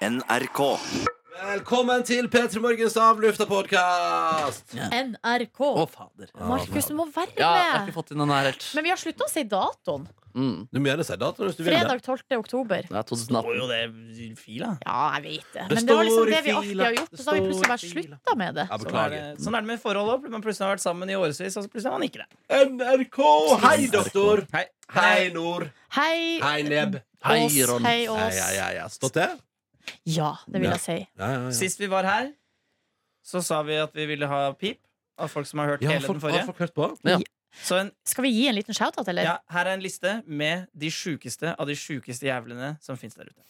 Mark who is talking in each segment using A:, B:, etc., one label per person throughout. A: NRK.
B: Velkommen til P3 Morgens avlufta podkast!
C: NRK.
D: Å, fader.
C: Markus, du må være
D: Ja, jeg har
C: med!
D: ikke fått inn den her helt.
C: Men vi har slutta å si datoen.
D: Mm.
B: Du må gjerne si datoen hvis du vil. det.
C: Fredag 12. oktober.
D: Det er 2018.
E: det i
B: eh,
E: fila.
C: Ja, jeg vet det.
B: Det
C: Men det
B: står
C: var
B: i
C: liksom det vi alltid
B: fila.
C: har gjort, og så har vi
B: Det
C: plutselig bare
B: står i fila.
C: slutta med det.
B: Jeg
E: Sånn er, det,
B: beklager.
E: sånn er det med forhold òg. Man plutselig har vært sammen i årevis, og så plutselig er man ikke det.
B: NRK! Hei, doktor!
E: eh, Hei.
B: Hei, Nord!
C: Hei,
B: Hei, Neb!
D: Hei,
C: Ås.
D: Ron.
C: Hei,
B: Ja, ja,
C: Ås.
B: ja, ja. Stått det?
C: Ja, det vil jeg si.
B: Ja, ja, ja.
E: Sist vi var her, så sa vi at vi ville ha pip av folk som har hørt
B: Ja,
E: hele
B: folk,
E: den
B: har
E: forrige.
B: folk hørt på?
E: Så en,
C: Skal vi gi en liten shout-out, eller?
E: ja, her er en liste med de sjukeste av de sjukeste jævlene som fins der ute.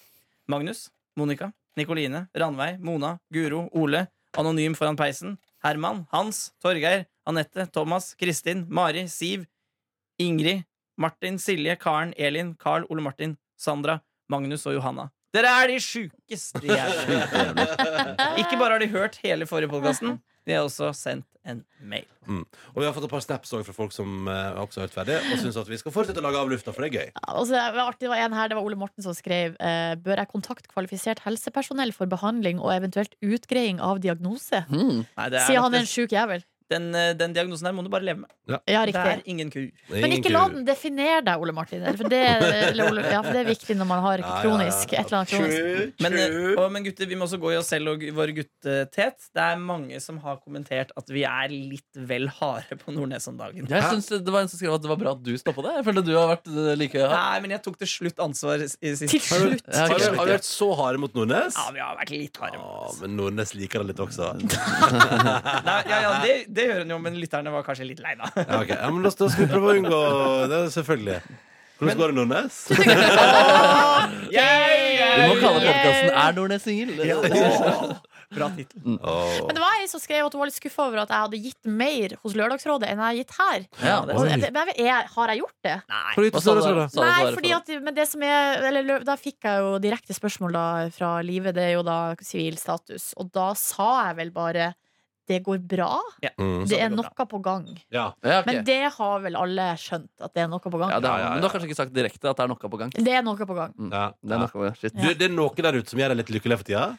E: Magnus, Monica, Nikoline, Ranveig, Mona, Guro, Ole, Anonym foran peisen, Herman, Hans, Torgeir, Anette, Thomas, Kristin, Mari, Siv, Ingrid, Martin, Silje, Karen, Elin, Carl, Ole Martin, Sandra, Magnus og Johanna. Dere er de sjukeste jævlene. Ikke bare har de hørt hele forrige podkasten, de har også sendt en mail.
B: Og vi har fått et par snaps også fra folk som eh, også har hørt ferdig, og syns at vi skal fortsette å lage avlufta, for det er gøy.
C: Og så var Altså, det artig, det var en her, det var Ole Morten som skrev eh, Bør jeg kontakte kvalifisert helsepersonell for behandling og eventuelt utgreiing av diagnose?
D: Mm.
E: Nei, det er
C: Sier
E: nok
C: han
E: det-
C: er en sjuk jævel.
E: den, eh, den diagnosen her må du bare leve med.
C: Ja,
E: Det
C: riktig.
E: er ingen kur.
C: Men ikke la den definere deg, Ole Martin. eller, For det, eller, Ole, ja, for det er viktig når man har kronisk et eller annet kronisk.
E: Men, eh, og, men gutter, vi må også gå i oss selv og vår guttetet. Det er mange som har kommentert at vi er litt vel harde på Nordnes om dagen.
D: Jeg synes det det var en som skrev at det var bra at du stoppa det. Jeg følte du har vært eh, like hard.
E: Nei, men jeg tok til slutt ansvar i i sist.
C: Til slutt.
D: Ja,
B: Har
D: ok.
B: vi, har vi vært så harde mot Nordnes?
E: Ja, vi har vært litt harde.
B: Ja,
E: men-
B: men Nordnes liker det litt også.
E: Nei, ja, ja, det, det gjør hun jo, men lytterne var kanskje litt lei, da.
B: Ja, ok. ja, men da, da skal vi prøve å unngå det, er selvfølgelig. Hvordan går det, Nordnes?
D: Vi må kalle
C: Yay!
D: podkasten 'Er Nordnes singel'?
E: Åh, Bra tittel.
B: Åh.
C: Men det var ei som skrev at hun var litt skuffa over at jeg hadde gitt mer hos Lørdagsrådet enn jeg har gitt her.
D: Ja, det-
C: Og, jeg- men jeg vet- er, har jeg gjort det?
B: Hva
D: Hva
B: sa du, sa du?
D: da? Sa du
C: Nei,
D: svaret
C: fordi
D: for-
C: at men det som er, eller, lø- Da fikk jeg jo direkte spørsmål da, fra livet. Det er jo da sivil status. Og da sa jeg vel bare det går bra.
B: Mm.
C: Det er noe på gang.
B: Ja.
D: Ja, ok.
C: Men det har vel alle skjønt, at det er noe på gang.
D: ja, det har,
B: Ja, ja, ja.
D: Men du har kanskje ikke sagt direkte at det er noe på gang?
C: Det er noe på gang.
B: Ja.
D: Det er noe på gang. Shit.
B: Du, det er noe der ute som gjør deg litt lykkelig for tida?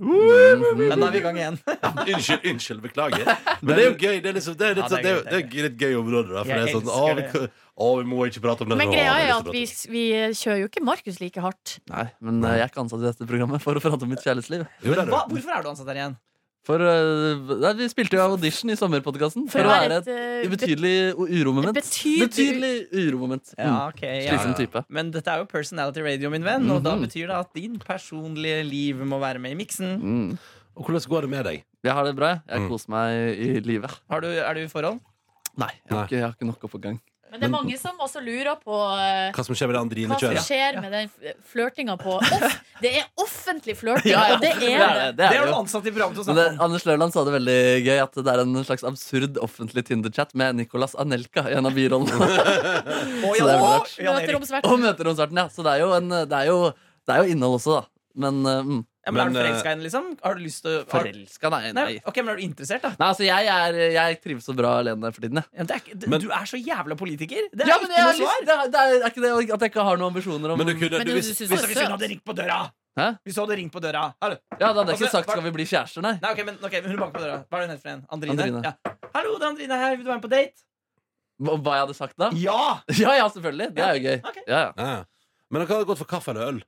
D: Mhm.
E: Men da er vi i gang igjen.
B: Unnskyld, unnskyld, beklager. Men det er jo gøy. Det er, liksom, det er, litt,
E: Ja, det er
B: sånn- det er,
E: gøy,
B: det er litt gøy område. Da, for
E: Jeg
B: det er sånn, å, vi,
E: elsker
B: kan- å, vi må ikke prate om det.
C: Men
B: Å,
C: greia
B: vi har
C: er
B: lyst
C: at
B: til å
C: vi,
B: prate
C: vi kjører jo ikke Markus like hardt.
D: Nei, men eh, jeg er ikke ansatt i dette programmet for å prate om mitt kjærlighetsliv.
B: om det. Jo, det er det.
E: Hva, hvorfor er du ansatt her igjen?
D: For eh, nei, Vi spilte jo audition i sommerpodkasten for å være et
C: eh,
D: ubetydelig u- uromoment.
C: Betydelig-
D: Betydelig uromoment.
E: Ja,
D: Mm.
E: ok ja.
D: Slitsom type.
E: Men dette er jo personality radio, min venn, og da
D: Mhm.
E: betyr det at din personlige liv må være med i miksen.
D: Mm.
B: Og hvordan går det med deg?
D: Jeg har det bra. jeg.
B: Mm.
D: Jeg koser meg i livet.
E: Har du, er du i forhold?
D: Nei, jeg
B: Nei.
D: har ikke, jeg har ikke noe på gang.
C: Men det er mange som også lurer på eh,
B: Hva som skjer med det
C: hva
B: andrine
C: som
B: kjøret?
C: skjer med den f- flørtinga på off. Det er offentlig flørting, og det er det.
D: Det det, det er
E: det er
D: det
E: du
D: jo.
E: ansatt i programmet til å
D: Men det,
E: snakke om.
D: Anders Lørland sa det veldig gøy at det er en slags absurd offentlig Tinder-chat med Nicolas Anelka i en av birollene. Så
E: Og
D: det er bra.
C: Og
E: Erik.
D: og
C: møteromsverten.
D: møter om starten, ja. Så det er jo, en, det er jo, det er jo innhold også, da. Men eh, mm,
E: Ja, men, er du
B: Men, eh,
E: forelska i henne, liksom? Har du lyst til å har,
D: forelska, nei.
E: nei,
D: Nei,
E: Ok, men er du interessert, da?
D: nei altså, jeg, er, jeg trives så bra alene for tiden, jeg.
E: Ja, men det er, ikke-
B: Men-
E: du er så jævla politiker! Det er
D: Ja, men
E: ikke
D: jeg
E: noe
D: har lyst,
E: svar!
D: det, er, det er er ikke det at jeg ikke har noen ambisjoner om
B: Men du kunne,
C: Men
B: du,
C: du,
B: hvis,
C: synes
E: Hvis,
C: det
E: hvis hun
C: er
E: hadde
C: søt.
E: ringt på døra!
D: Hæ?
E: Hvis hun hadde ringt på døra Hallo.
D: Ja, da hadde jeg
E: Altså,
D: ikke sagt
E: hva-
D: 'skal vi bli kjærester', nei.
E: Nei, ok, men, ok, men hun banker på døra. Hva er det hun het for en? Andrine?
D: Andrine.
E: Ja. Hallo, det er Andrine her. Vil du være med på date?
D: Hva hva jeg hadde sagt da?
E: Ja!
D: Ja ja, selvfølgelig. Det er jo gøy.
E: Ok.
D: Ja, ja.
B: ja. Men dere hadde gått for kaffe eller øl?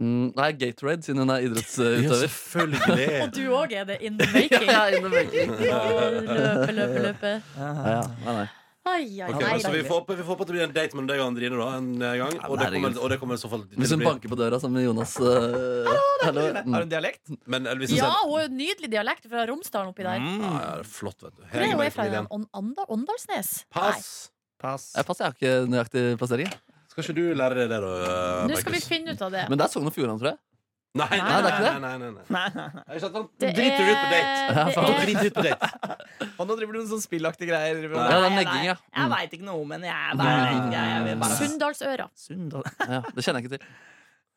D: Mm, nei, Gatorade, siden hun er idrettsutøver.
C: Og
B: selvfølgelig.
C: du òg er det in the
D: Ja,
C: making.
D: ja, in the making.
C: Løpe, løpe, løpe.
D: Ja, ja. Nei, nei.
C: Ai, ai,
B: Ok,
C: nei,
B: så Altså, vi
C: nei.
B: får håpe vi får håpe at det blir en date mellom deg og Andrine da, en eh, gang.
D: Ja,
B: Og det
D: herregud.
B: kommer, og det kommer i så fall til
D: Hvis
B: å
D: hun
B: bli
D: banker på døra sammen med Jonas øh, Hallo. Mm.
E: Har hun dialekt?
B: Men eller hvis hun
C: Ja,
B: sier-
C: hun har jo nydelig dialekt fra Romsdalen oppi der.
B: Ja,
E: Mm.
B: ja, det er flott, vet du.
C: Hvor er
B: Hege
C: hun
B: Marie
C: fra?
B: Familien.
C: Ånd- Ånda- Åndalsnes? Nei.
B: Pass!
E: Pass.
D: Jeg passer, jeg har ikke nøyaktig plassering. jeg.
B: Skal ikke du lære deg det, da?
C: Nå skal vi
B: Markus?
C: finne ut av det.
D: Men det er Sogn og Fjordane, tror jeg.
B: Nei, nei,
C: Nei,
B: nei,
D: det er
B: nei, nei,
D: ikke
B: nei, nei.
E: Nei, nei, nei.
B: Er det sant?
C: Det
B: Driter du ut på date?
C: er- det
D: faen.
C: er-
B: Drit ut på date.
E: Og nå driver du med sånn spillaktige greier. Driver du-
D: Ja, det er
E: Nei,
D: negging, ja. Mm.
E: Jeg, jeg veit ikke noe, men jeg er bare jeg, jeg, vil bare
C: Sunndalsøra.
E: Sund, da.
D: Ja, det kjenner jeg ikke til.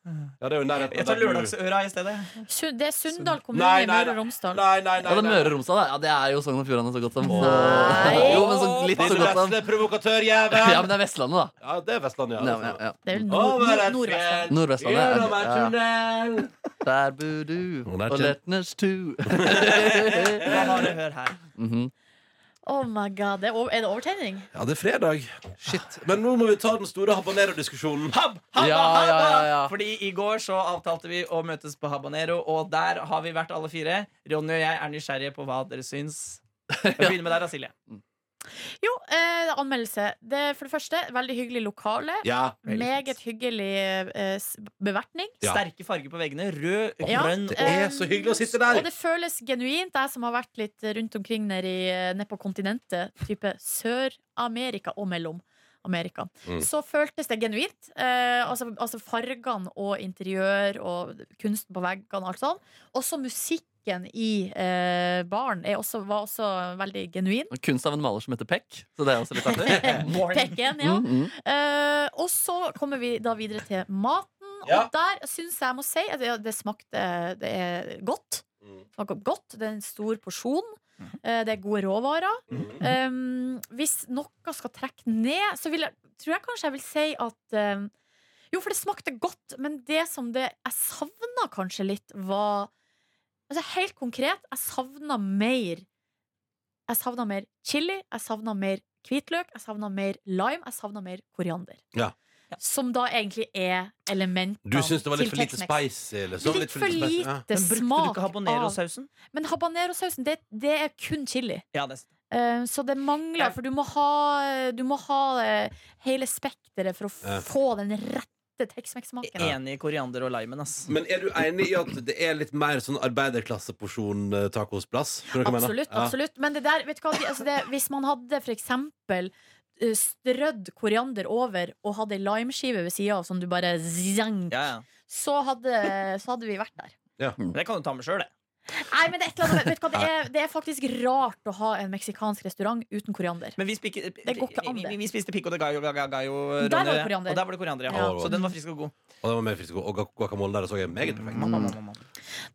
B: Ja, det er jo i nærheten
E: Jeg
B: av
E: tar
B: der du-
E: Lørdagsøra i stedet.
C: Su- Det er Sunndal kommune
B: Nei,
C: i
B: nei,
C: Møre og
B: nei.
C: Romsdal.
B: Nei, nei, nei.
D: Ja, det er
B: nei.
D: Møre og Romsdal, da. ja, det er jo Sogn og Fjordane så godt som.
C: Nei.
D: Jo, men så litt så
B: Din
D: godt som.
B: vesle provokatørjævel!
D: Ja, men det er Vestlandet, da.
B: Ja, det er Vestlandet, ja.
D: Ja, ja, ja.
C: Det er vel nord-
B: Over
C: nord-
B: et
C: Nordvestlandet.
B: fjell,
D: Nordvestlandet, ja.
B: gjennom en tunnel
D: Der bor du,
B: Og der
D: og
B: kjen-
D: Letners tu.
E: Hva har du hør her?
D: Mhm.
C: Oh my god, det er, over, er det overtenning?
B: Ja, det er fredag. Shit. Men nå må vi ta den store habanero-diskusjonen.
E: Hab, habba,
D: Ja,
E: habba!
D: ja, ja, ja.
E: Fordi i går så avtalte vi å møtes på Habanero, og der har vi vært alle fire. Ronny og jeg er nysgjerrige på hva dere syns. Vi begynner med deg, da, Silje.
C: Jo, eh, anmeldelse. Det er for det første veldig hyggelig lokale.
B: Ja.
C: Meget hyggelig eh, s- bevertning.
B: Ja.
E: Sterke farger på veggene. Rød,
C: Ja.
E: grønn
B: Det er så hyggelig å sitte der.
C: Og det føles genuint, jeg som har vært litt eh, rundt omkring nede, i, eh, nede på kontinentet, type Sør-Amerika og mellom. Amerika.
B: Mm.
C: Så føltes det genuint. Eh, altså, altså fargene og interiør og kunsten på veggene og alt sånn. Også musikken i eh, baren er også, var også veldig genuin.
D: Og Kunst av en maler som heter Peck. Så det er også litt artig.
E: Morning.
C: Pekken, ja.
D: Mm, mm.
C: Eh, og så kommer vi da videre til maten.
B: Ja.
C: Og der syns jeg jeg må si at det, det smakte Det er godt.
B: Mm.
C: Det smaker godt. Det er en stor porsjon. Eh, det er gode råvarer.
B: Mm.
C: Um, hvis noe skal trekke ned, så vil jeg, tror jeg kanskje jeg vil si at um, Jo, for det smakte godt, men det som det jeg savna kanskje litt, var Altså Helt konkret, jeg savna mer Jeg savna mer chili, jeg savna mer hvitløk, jeg savna mer lime, jeg savna mer koriander.
B: Ja.
C: Som da egentlig er elementene
B: Du syns det var litt
C: til
B: for lite
C: Tex-Mex.
B: spicy? Liksom.
C: Litt for
B: spicy,
C: lite
B: ja.
E: Men brukte du
C: smak
E: ikke
C: av
E: habanero-sausen?
C: Men habanerosausen, det, det er kun chili.
E: Ja, det
C: Eh, Så det mangler,
E: Ja.
C: for du må ha, du må ha eh, hele spekteret for å f
B: Ja.
C: få den rette Tex-Mex-smaken.
E: Enig i koriander og limen, ass.
C: Mm.
B: Men er du enig i at det er litt mer sånn arbeiderklasseporsjon eh, tacosplass? Skjønner du hva jeg mener?
C: Absolutt,
B: Ja.
C: absolutt. Men det der, vet du hva, de- altså det, hvis man hadde for eksempel eh, strødd koriander over og hadde ei limeskive ved sida av som du bare zang,
E: Ja, ja.
C: så, hadde, så hadde vi vært der.
E: Men Det kan du ta med sjøl, det.
C: Nei, men det er, et eller annet, vet du hva, det, er, det er faktisk rart å ha en meksikansk restaurant uten koriander.
E: Men vi, spiker,
C: går ikke an,
E: vi,
C: det.
E: vi, vi spiste pico de gallo, gallo, gallo
C: Der
E: Ronny,
C: var det
E: og jeg.
C: koriander.
E: Og der var det koriander, ja.
B: Ja.
E: Så den var frisk og god. Mm.
B: Og det var mer frisk og og guac- guacamole der, og så jeg meget perfekt.
E: Mamma, mamma,
C: Mm.
E: mamma.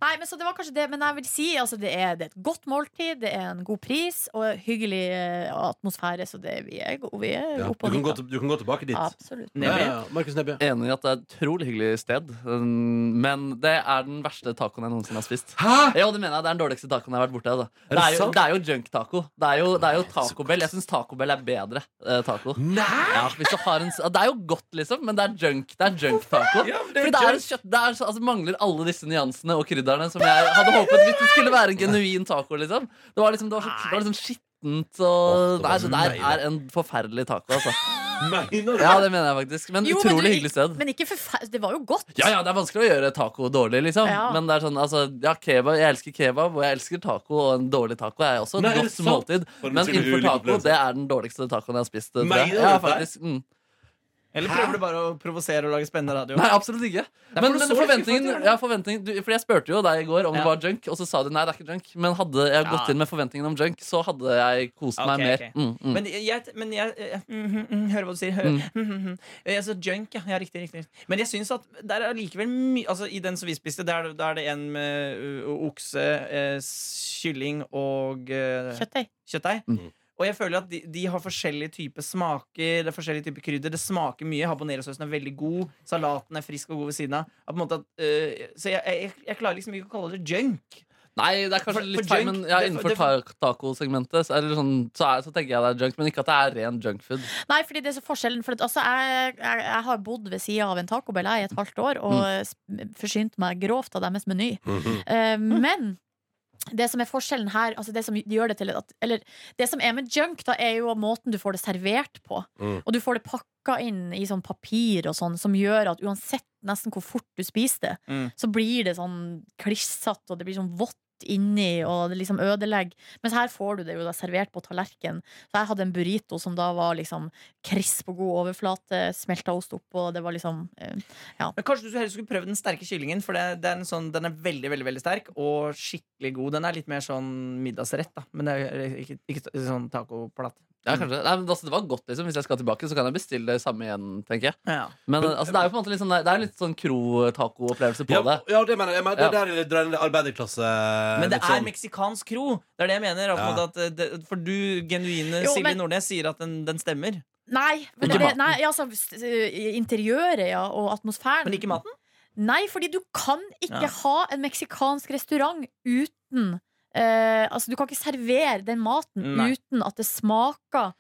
C: Nei, men så det var kanskje det Men jeg vil si altså, det, er, det er et godt måltid, det er en god pris og hyggelig eh, atmosfære. Så det, vi er, go- vi er
B: Ja. Du,
C: oppe og
B: kan gå
C: nikker.
B: til, du kan gå tilbake dit.
C: Absolutt.
B: Ja,
E: Nebbi?
B: ja, ja. Markus Nebbe.
E: Eh.
D: Enig i at det er et utrolig hyggelig sted, um, men det er den verste tacoen jeg noensinne har spist.
B: Hæ?!
D: Ja, det mener jeg, det er den dårligste tacoen jeg har vært borte i. Det,
B: det
D: er jo-
B: sant?
D: det er jo junk taco. Det er jo, det er jo Taco Bell. Jeg syns Taco Bell er bedre eh, taco.
B: Mm. Nei!
D: Ja, hvis du har en, s- ja, det er jo godt, liksom, men det er junk. Det er junk taco.
B: Ja, men det er
D: Fordi det
B: junk.
D: er en kjøtt, det er, så- altså, mangler alle disse nyansene og krydderne som jeg hadde håpet hvis det skulle være en genuin taco. liksom Det var liksom, det var så, det var liksom skittent og
B: Åh, det var
D: Nei, så der
B: deilig.
D: er en forferdelig taco, altså.
B: Mener du?
D: Ja, det mener jeg faktisk. Men
C: Jo, men
D: utrolig
C: du-
D: hyggelig sted.
C: Men ikke forferdelig. Det var jo godt.
D: Ja, ja, Det er vanskelig å gjøre taco dårlig, liksom.
C: Ja.
D: Men det er sånn, altså, ja, kebab, jeg elsker kebab, og jeg elsker taco, og en dårlig taco er også et
B: Nei, er det
D: godt
B: sant?
D: måltid.
B: For en
D: Men
B: utrolig
D: innenfor
B: ulik
D: taco,
B: opplevelse.
D: det er den dårligste tacoen jeg har spist. tror jeg.
B: Mener du
D: Ja,
B: det?
D: faktisk. Mm.
E: Eller prøver du bare å provosere og lage spennende radio?
D: Nei, absolutt ikke.
E: er
D: Men,
E: for du
D: men
E: så
D: forventningen,
E: ikke for at du gjør det.
D: ja, forventningen du, Fordi jeg spurte jo deg i går om
E: Ja.
D: det var junk, og så sa du nei, det er ikke junk. Men hadde jeg
E: Ja.
D: gått inn med forventningen om junk, så hadde jeg kost meg
E: Ok,
D: mer.
E: ok.
D: Mm, mm.
E: Men jeg, men jeg eh, mm, mm, mm, Hører hva du sier. Hører. Mm, mm, mm. Jeg så junk, ja. ja riktig, riktig, riktig. Men jeg syns at der er likevel mye altså, I den som vi spiste, der, der er det en med ø, okse, eh, s- kylling og eh,
C: Kjøttdeig.
E: kjøttdeig.
D: Mm.
E: Og jeg føler at de, de har forskjellige typer smaker. Det er forskjellige typer krydder Det smaker mye. Habanerosausen er veldig god. Salaten er frisk og god ved siden av. At på en måte at, eh, så jeg, jeg, jeg klarer liksom ikke å kalle det junk.
D: Nei, det er
E: For-
D: kanskje litt
E: for
D: feil,
E: junk,
D: men ja,
E: det-
D: innenfor
E: det-
D: ta- tacosegmentet så, er det sånn, så, er- så tenker jeg det er junk, men ikke at det er ren junkfood.
C: Nei, fordi det er så forskjellen. For at, altså, jeg, jeg, jeg har bodd ved sida av en tacobell jeg, i et halvt år og mm. forsynt meg grovt av deres meny.
B: Mhm.
C: Eh, Men det som er forskjellen her altså Det som gjør det til at, Eller det som er med junk, da er jo måten du får det servert på.
B: Mm.
C: Og du får det pakka inn i sånn papir og sånn, som gjør at uansett nesten hvor fort du spiser det,
E: Mm.
C: så blir det sånn klissete, og det blir sånn vått kjøtt inni og det liksom ødelegger. Mens her får du det jo da servert på tallerken. Så jeg hadde en burrito som da var liksom krisp og god overflate, smelta ost oppå, og det var liksom eh,
E: Men Kanskje du heller skulle prøvd den sterke kyllingen, for det, det er en sånn, den er veldig veldig, veldig sterk og skikkelig god. Den er litt mer sånn middagsrett, da. Men det er ikke, ikke sånn tacoplate.
D: Ja, kanskje. Nei, men altså, det var godt, liksom. Hvis jeg skal tilbake, så kan jeg bestille det samme igjen, tenker jeg.
E: Ja.
B: Eh,
D: Men altså, det er jo på en måte litt sånn, det er litt sånn kro-taco-opplevelse på
B: Ja,
D: det.
B: ja, det mener jeg. jeg mener, det
D: Ja.
B: der er litt dreiende arbeiderklasse.
E: Men det
B: litt sånn.
E: er meksikansk kro! Det er det jeg mener. At, på en
B: Ja.
E: måte at det, for du, genuine
C: Jo,
E: Silje
C: men-
E: Nordnes, sier at den, den stemmer.
C: Nei. Men
D: Ikke
C: det,
D: maten.
C: nei ja, altså, s- s- interiøret ja, og atmosfæren.
E: Men ikke maten.
C: Nei, fordi du kan ikke
E: Ja.
C: ha en meksikansk restaurant uten eh, Altså, du kan ikke servere den maten
E: Nei.
C: uten at det smaker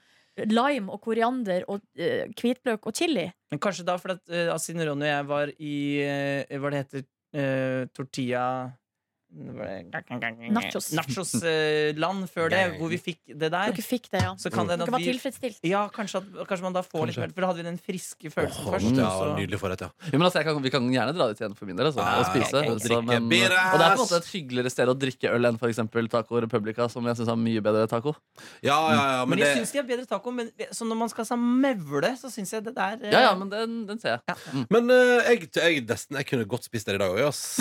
C: lime og koriander og eh, hvitløk og chili.
E: Men kanskje da, for at, eh, at siden Ronny og jeg var i eh, hva det heter eh, tortilla
C: Nachos.
E: Nachos-land eh, før det, hvor vi fikk det
C: Dere
E: der.
C: fikk det, ja.
E: Så kan det
C: Dere
E: hende at
C: var
E: vi
C: tilfredsstilt.
E: Ja, kanskje, at, kanskje man da får litt
B: Kanskje.
E: mer For da hadde vi den friske følelsen
B: Åh,
E: først.
B: ja,
E: og så-
B: nydelig forrett, ja.
D: Jo, men altså, jeg kan, vi kan gjerne dra dit igjen for min del altså,
B: Ja,
D: og spise.
B: og
D: så,
B: drikke
D: men, og det
B: birras.
D: er på en måte et hyggeligere sted å drikke øl enn for eksempel Taco Republica, som jeg syns har mye bedre taco.
B: Ja, ja, ja,
E: men
B: men
E: jeg
B: det
E: syns de har bedre taco, men så når man skal sa mevle, så syns jeg det der eh,
D: Ja, ja, men den, den ser jeg.
B: Men eh, jeg, jeg, nesten, jeg kunne godt spist der i dag òg, ass.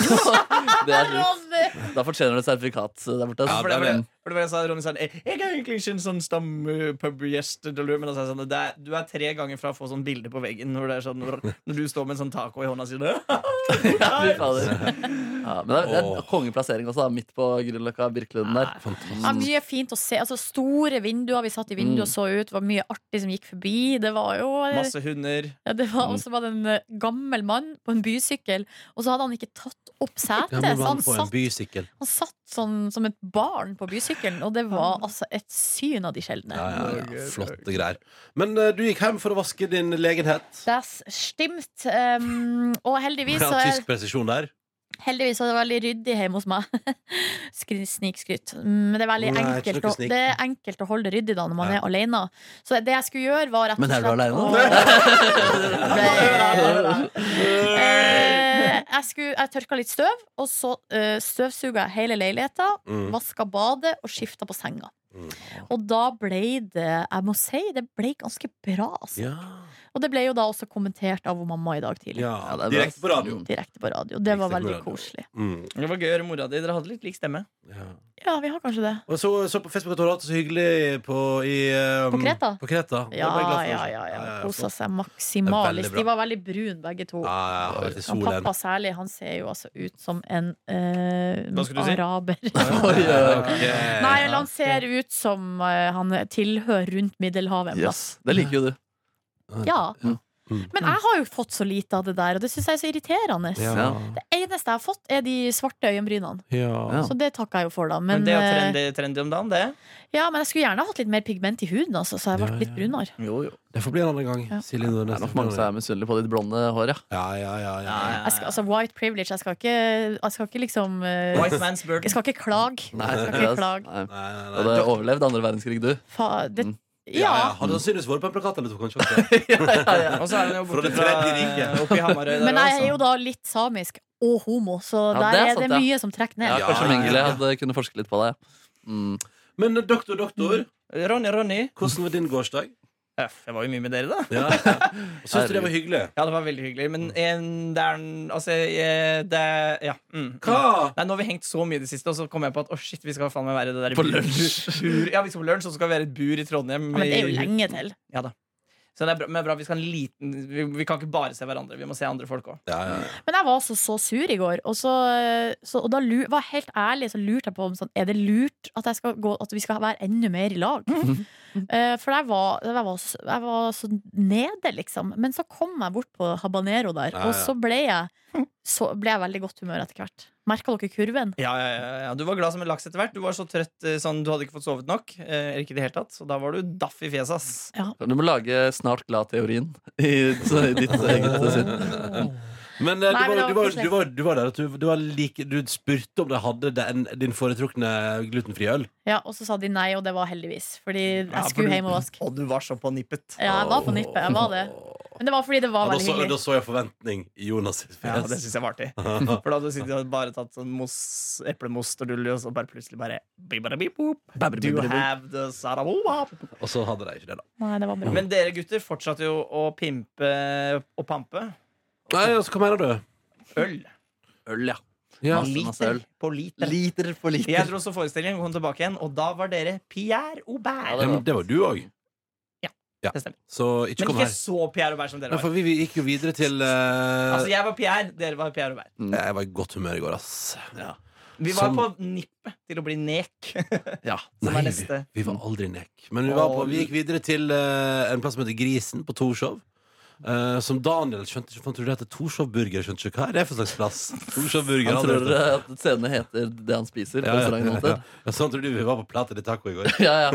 D: Det er sjukt. Da fortjener du et sertifikat der borte.
B: Ja,
D: Altså.
E: For det
B: det
E: var
B: er
E: det, for det var det jeg sa, Ronny sa Jeg jeg er egentlig ikke en sånn stampubgjest Men da sa jeg sånn det er, Du er tre ganger fra å få sånn bilde på veggen Når, det er sånn, når, når du står med en sånn taco i hånda og sier
D: Ja, fy fader. Ja, men det er, det er
B: Åh.
D: kongeplassering også, da, midt på Grünerløkka, Birkelunden
B: Ah,
D: der.
C: Ja, mye fint å se. Altså, store vinduer. Vi satt i vinduet
E: Mm.
C: og så ut. Det var mye artig som gikk forbi. Det var jo eh,
E: Masse hunder
C: ja, det
B: Mm.
C: var, Og så var det en eh, gammel mann på en bysykkel, og så hadde han ikke tatt opp setet. Så han
B: på en
C: satt
B: bysykkel.
C: Han satt sånn som et barn på bysykkelen, og det var altså et syn av de sjeldne.
B: Ja, ja, ja,
E: Norge,
B: flotte greier. Men eh, du gikk hjem for å vaske din legenhet.
C: Das stimmt. Um, og heldigvis
B: Ja,
C: så, er,
B: tysk presisjon der.
C: heldigvis så er det veldig ryddig hjemme hos meg. Skri- Snikskryt. Men det er veldig
B: Nei, ikke
C: enkelt,
B: noe
C: å,
B: snik.
C: det er enkelt å holde det ryddig da når man
B: Ja.
C: er alene. Så det jeg skulle gjøre, var rett og
D: Men er
C: slett
D: du alene?
C: alene? Eh, Jeg, skulle, jeg tørka litt støv, og så uh, støvsuga jeg hele leiligheta.
B: Mm.
C: Vaska badet og skifta på senga.
B: Mm.
C: Og da ble det Jeg må si, det ble ganske bra. Altså.
B: Ja.
C: Og det ble jo da også kommentert av hun mamma i dag tidlig.
B: ja.
D: Ja, det er
B: Direkte
D: bra.
B: på radio.
D: Mm.
C: Direkte på radio. Det var
B: Direkte på
C: veldig
B: radio.
C: koselig.
B: Mm.
E: Det var gøy å høre mora di, dere hadde litt lik stemme
B: Ja.
C: Ja, vi har kanskje det.
B: Og så, så på Facebook at du har hatt det så hyggelig på, i, eh,
C: På Kreta?
B: På Kreta. Det
C: Ja,
B: ble jeg glad for.
C: ja, ja. ja. Kosa
B: flott.
C: seg
B: Det er veldig
C: maksimalisk.
B: bra.
C: De var veldig brune, begge to.
B: Ja, ja, ja, vært i
C: Han
B: solen.
C: pappa særlig, han ser jo altså ut som en eh,
E: Hva skulle du si?
C: araber.
D: Oi, oi, oi.
B: Eh, Ok.
C: Nei, eller han ser ut som eh, han tilhører rundt Middelhavet. en
D: Yes, det liker jo du.
C: plass. Ja.
D: Mm.
C: Men jeg har jo fått så lite av det der, og det syns jeg er så irriterende.
B: Ja.
C: Det eneste jeg har fått, er de svarte øyenbrynene.
B: Ja.
D: Ja.
C: Så det takker jeg jo for, da.
E: Men,
C: Men,
E: det er jo
C: eh,
E: trendy, trendy om dagen, det
C: ja, men jeg skulle gjerne hatt litt mer pigment i huden, altså, så jeg ble
B: Ja,
C: litt
B: ja.
C: brunere.
D: Jo, jo.
B: Det får bli en annen gang.
C: Ja.
B: Silje Nordnes.
D: Det er nok mange som er misunnelige på ditt blonde hår, ja.
B: Ja, ja, ja. ja.
E: Ja,
C: Jeg skal, altså, white privilege. Jeg skal ikke, jeg skal ikke liksom eh,
E: White man's
C: Jeg
E: burden
C: skal ikke klage.
D: Nei,
C: Jeg skal
D: det
C: ikke
D: er-
C: klage.
D: nei.
B: Nei, nei,
D: Du
B: nei.
D: hadde overlevd andre verdenskrig, du.
C: Fa, det,
D: Mm.
B: Ja, ja.
C: ja.
B: Hadde sannsynligvis vært på en plakat eller to, kanskje. også.
E: Og så er hun jo
B: For
E: borte
B: det
E: fra
B: tredje riket.
E: Oppi Hamarøy der
C: Men jeg er
E: også.
C: jo da litt samisk og homo, så
D: Ja,
C: der
D: det er
C: er,
D: sant,
C: det
D: ja.
C: mye som trekker
D: Ja,
C: ned.
B: Ja,
D: kanskje
B: ja, ja,
D: Mengele
B: ja.
D: hadde kunne forske litt på det. Mm.
B: Men eh, doktor, doktor,
E: Ronny, Ronny
B: hvordan var din gårsdag?
E: Øff, Jeg var jo mye med dere da Mm.
B: Ja. Syns du det var hyggelig?
E: Ja, det var veldig hyggelig, men en, det er en- Altså, eh, det er- Ja. Mm.
B: Hva?
E: Nei, nå har vi hengt så mye i det siste, og så kom jeg på at å shit, vi skal faen meg være i det der
D: På
E: bur-
D: lunsj.
E: Bur, ja, vi skal på lunsj, og så skal vi være i et bur i Trondheim.
C: Ja, men det er jo
E: i-
C: lenge til.
E: Ja da. Så det er bra, men det er bra vi skal ha en liten vi, vi kan ikke bare se hverandre, vi må se andre folk òg.
B: Ja, ja, ja.
C: Men jeg var altså så sur i går, og, så, eh, så, og da lu- var jeg helt ærlig så lurte jeg på om sånn, er det lurt at, jeg skal gå, at vi skal være enda mer i lag.
B: Mhm.
C: Eh, for jeg var, jeg, var, s- jeg var så nede, liksom. Men så kom jeg bort på habanero der,
B: Ja, ja.
C: og så ble jeg, så ble jeg veldig godt humør etter hvert. Merka dere kurven?
E: Ja, ja, ja, ja. Du var glad som en laks etter hvert. Du var så trøtt eh, sånn, du hadde ikke fått sovet nok. eh, Eller ikke i det hele tatt. Så da var du daff i fjeset, ass.
D: Du må lage snart glad-teorien i, så i ditt eget syn.
B: Men eh, du, var,
C: Nei, men
B: du,
C: det var
B: var,
C: koselig.
B: du, var, du var der at du, du, var like, du spurte om de hadde den, din foretrukne glutenfrie øl.
C: Ja, og så sa de nei, og det var heldigvis. Fordi
E: Ja,
C: jeg
E: for
C: skulle
E: du-
C: hjem og vaske.
E: Og du var så på nippet.
C: Ja, jeg var på nippet. Jeg var det. Men det var fordi det
B: Og
C: var
B: da
C: veldig
B: så, da
C: hyggelig.
B: så jeg forventning i Jonas sitt
E: Ja, det
B: fjes.
E: syns jeg var artig. For da hadde du sittet og bare tatt sånn mos, eplemost og dulli, og så bare plutselig bare bibadabibop, Do you have the saraboop?
B: Og så hadde de ikke det, da.
C: Nei, det var bra.
E: Men dere gutter fortsatte jo å pimpe og pampe.
B: Nei, altså, hva mener du?
E: Øl.
D: Øl, ja.
B: Ja.
D: Masse, masse
E: Liter
D: øl.
E: på liter.
D: Liter for liter.
E: Jeg dro så forestilling og kom tilbake igjen, og da var dere Pierre
D: Ja,
E: Aubert.
B: Ja, men det var du òg.
E: Ja,
B: ja.
E: det stemmer.
B: Så ikke
E: Men
B: kom
E: ikke
B: her.
E: så Pierre Aubert som dere
B: Nei,
E: var.
B: for vi, vi gikk jo videre til eh,
E: Altså, jeg var Pierre, dere var Pierre Aubert.
B: Jeg var i godt humør i går, ass.
E: Vi var
B: Som-
E: på nippet til å bli nek.
D: Ja.
E: Som
B: Nei,
E: er
B: vi,
E: neste.
B: vi var aldri nek. Men vi, var på, vi gikk videre til eh, en plass som heter Grisen, på Torshov. Eh, som Daniel skjønte ikke, for han trodde det het Torshov Burger. Skjønte ikke hva er det for slags plass? Torshov Burger
D: Han
B: aldri hørt om.
D: tror eh, at scenen heter det han spiser.
B: ja,
D: på
B: ja,
D: restauranten
B: ja,
D: alltid.
B: ja. Ja, Sånn trodde vi var på Plata di Taco i går.
D: Ja, ja.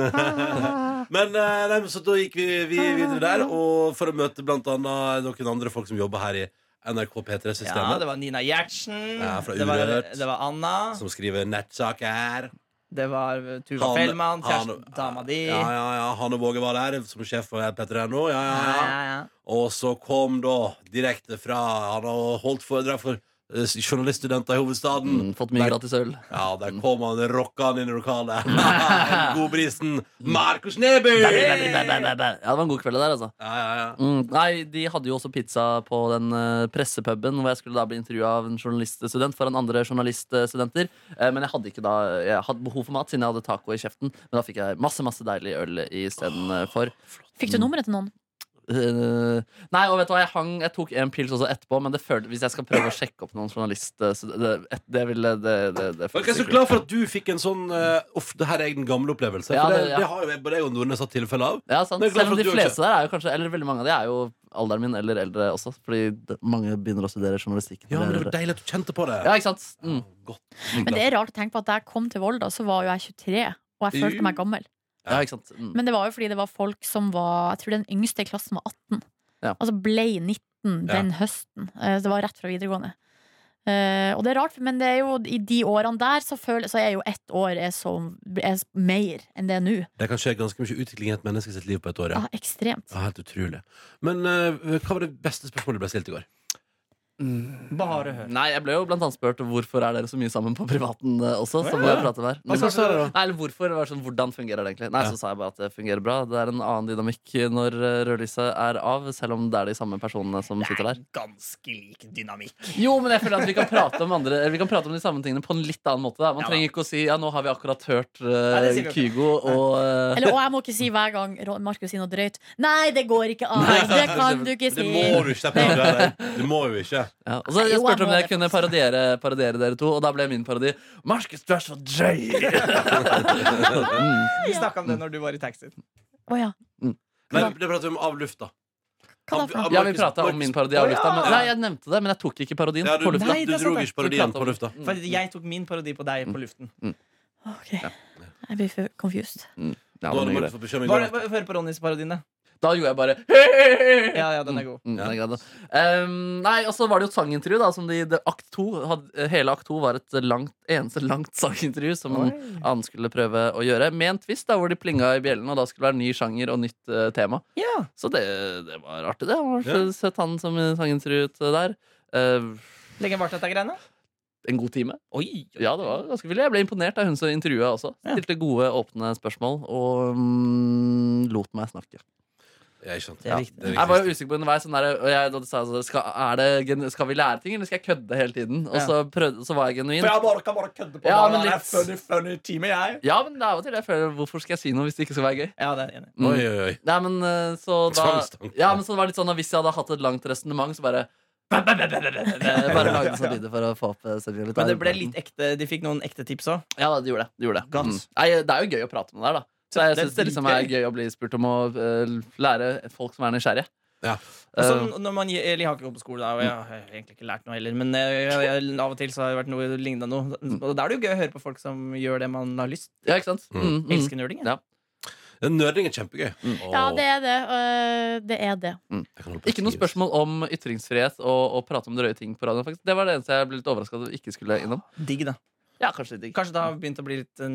B: Men eh, nei, men så da gikk vi, vi videre der, og for å møte blant annet noen andre folk som jobber her i NRK
E: Ja,
B: P3-systemet.
E: det var Nina Gjertsen.
B: Ja, fra
E: det, var,
B: Urørt.
E: det var Anna.
B: som skriver nettsaker.
E: Det var eh, Tuva
B: Han-
E: Fellmann.
B: han-
E: Kjæresten dama di.
B: Ja, ja, ja. Hanne Våge var der som sjef for P3 nå. Ja, ja,
E: Ja,
B: ja.
E: ja, ja.
B: Og så kom da direkte fra Han har holdt foredrag for eh, journaliststudenter i hovedstaden.
D: Mm, Fått mye gratis Mm. øl.
B: Ja, der kom han rocka han inn i lokalet. Godbrisen
D: Mm.
B: Markus Neby!
D: Ja,
B: Ja,
D: det var en god kveld det der, altså.
B: ja, ja.
D: Mm, nei, de hadde jo også pizza på den eh, pressepuben hvor jeg skulle da bli intervjua av en journaliststudent foran andre journaliststudenter. Eh, men jeg hadde ikke da Jeg hadde behov for mat siden jeg hadde taco i kjeften. Men da fikk jeg masse masse deilig øl istedenfor.
C: Fikk du nummeret til noen?
D: Uh, nei, og vet du hva, jeg hang Jeg tok en pils også etterpå, men det følte, hvis jeg skal prøve å sjekke opp noen journalist eh, så det, det, det ville det, det, det
B: Ok, jeg er så glad for at du fikk en sånn eh, Uff, det her er den gamle opplevelse. For
D: Ja,
B: det,
D: det- ja.
B: det har jo jeg- både jeg og Nordnes hatt tilfelle av.
D: Ja, sant.
B: Men jeg er glad
D: Selv om
B: for at
D: de
B: du
D: fleste der er jo kanskje Eller veldig mange av de er jo alderen min eller eldre også. Fordi det- mange begynner å studere journalistikk.
B: Ja,
D: når
B: men Det
D: de er
B: var
D: eldre.
B: deilig at du kjente på det.
D: ja, ikke sant? Mm.
B: Godt.
C: Men det er rart å tenke på at da jeg kom til Volda, så var jo jeg 23, og jeg følte meg gammel.
D: Ja, ikke sant? Mm.
C: Men det var jo fordi det var folk som var Jeg tror den yngste i klassen var 18.
D: Ja.
C: Altså ble 19 den høsten. Eh, Det var rett fra videregående. Eh, og det er rart, men det er jo i de årene der så, føler, så er jo ett år er så, er mer enn det er nå.
B: Det kan skje ganske mye utvikling i et menneske sitt liv på et år.
C: Ja,
B: Ja.
C: ekstremt.
B: Ja, helt utrolig. Men eh, hva var det beste spørsmålet du ble stilt i går?
E: Bare hør.
D: Nei, jeg ble jo blant annet spurt hvorfor er dere så mye sammen på privaten eh, også. Så må
E: Ja.
D: jeg prate med her.
B: Hva sa du da?
D: Nei, eller hvorfor, det var sånn, hvordan fungerer det egentlig? Nei,
B: Ja.
D: så sa jeg bare at det fungerer bra. Det er en annen dynamikk når eh, rødlyset er av, selv om det er de samme personene som sitter der.
E: ganske lik dynamikk.
D: Jo, men jeg føler at vi kan prate om, andre, eller vi kan prate om de samme tingene på en litt annen måte. Da. Man
E: Ja, da.
D: trenger ikke å si ja, nå har vi akkurat hørt eh,
E: det sier vi ikke.
D: Kygo og eh,
C: Eller, og jeg må ikke si hver gang Ro- Markus sier noe drøyt. Nei, det går ikke an!
D: Nei,
C: Det kan du ikke
B: Det
C: si!
B: må du ikke. det er bra, det. Du må jo ikke.
D: ja. Og så
C: Nei,
D: jeg
C: jo, jeg
D: spurte om
C: må
D: jeg
C: det,
D: kunne parodiere, parodiere dere to, og da ble min parodi Markus, du er så drøy!
E: Vi snakka om det når du var i taxien.
C: Å ja.
B: Nei, det prater vi om av lufta.
C: Hva da for noe?
B: Av- av
D: Ja, vi
B: Markus-
D: prata om
B: Markus-
D: min parodi av
E: Å, ja!
D: lufta. Men, nei, jeg nevnte det, men jeg tok ikke parodien
B: Ja, du,
D: på lufta.
E: Nei, det
B: du
E: er sant,
B: dro
E: det.
B: ikke parodien på lufta.
D: Mm.
E: Fordi jeg tok min parodi på deg på luften.
C: Ok. Jeg blir for confused.
D: Ja,
B: Nå
D: den
B: hadde
D: er grei.
B: Markus fått beskjed om i går
E: Bare,
B: at-
E: bare Hør på Ronnys parodiene.
D: Da gjorde jeg bare mm,
E: Ja, ja, den er god.
D: den er grei, da. Ehm, Nei, og så var det jo et sangintervju, da. Som de, det, akt 2, hadde, hele akt to var et langt, eneste langt sangintervju
E: Mm.
D: som en annen skulle prøve å gjøre. Med en twist da, hvor de plinga i bjellen, og da skulle det være ny sjanger og nytt eh, tema.
E: Ja.
D: Så det, det var artig, det. Har
B: Ja.
D: sett han som sangintervjuet der. Eh,
E: Lenge varte dette greiene?
D: en god time.
E: Oi.
D: Ja, det var ganske villig. Jeg ble imponert av hun som intervjua også.
E: Ja.
D: Stilte gode, åpne spørsmål og mm, lot meg snakke.
B: Ja, ikke sant.
E: Det er viktig.
B: Det er
D: Jeg var
B: viktig.
D: jo usikker på underveis. Sånn der, og jeg, da sa jeg sånn, skal, er det, gen- skal vi lære ting, eller skal jeg kødde hele tiden? Og
E: Ja.
D: så, prøvde, så var jeg genuin.
E: For jeg bare kan bare kødde på
D: Ja,
E: ja,
D: men
E: den
D: litt-
E: litt... funny, funny time, jeg.
D: Ja, men det er jo til det. Jeg føler, hvorfor skal jeg si noe hvis det ikke skal være gøy?
E: Ja, det er jeg enig. i.
D: Mm.
B: Oi, oi, oi.
D: Nei, men eh, så da
B: Tvangstanke.
D: Ja, men så det var litt sånn at Hvis jeg hadde hatt et langt resonnement, så bare Bare lagde sånne lyder for å få opp eh, stemningen litt.
E: Men det ble litt ekte, de fikk noen ekte tips òg.
D: Ja, da, det gjorde det. Det, gjorde det. Mm.
E: Godt.
D: Nei, det er jo gøy å prate med deg, da. Så jeg
E: Det er
D: syns det liksom er gøy å bli spurt om å eh, lære folk som er nysgjerrige.
B: Ja.
D: Eh,
E: Når man eller jeg har ikke gått på skole, da, og jeg har egentlig ikke lært noe heller, men jeg, jeg, jeg, av og til så har det vært noe lignende noe. Og da er det jo gøy å høre på folk som gjør det man har lyst.
D: ja, ikke sant? Mm,
B: Mm.
D: mm.
E: Elsker nerding. jeg.
B: Den Nerding er kjempegøy.
C: Ja, det er det. Øh, Det er det.
D: Ikke noe spørsmål om ytringsfrihet og å prate om drøye ting på radioen. faktisk Det var det eneste jeg ble litt overraska over ikke skulle innom.
E: Digg, da.
D: Ja, kanskje litt digg.
E: Kanskje det har begynt å bli litt eh,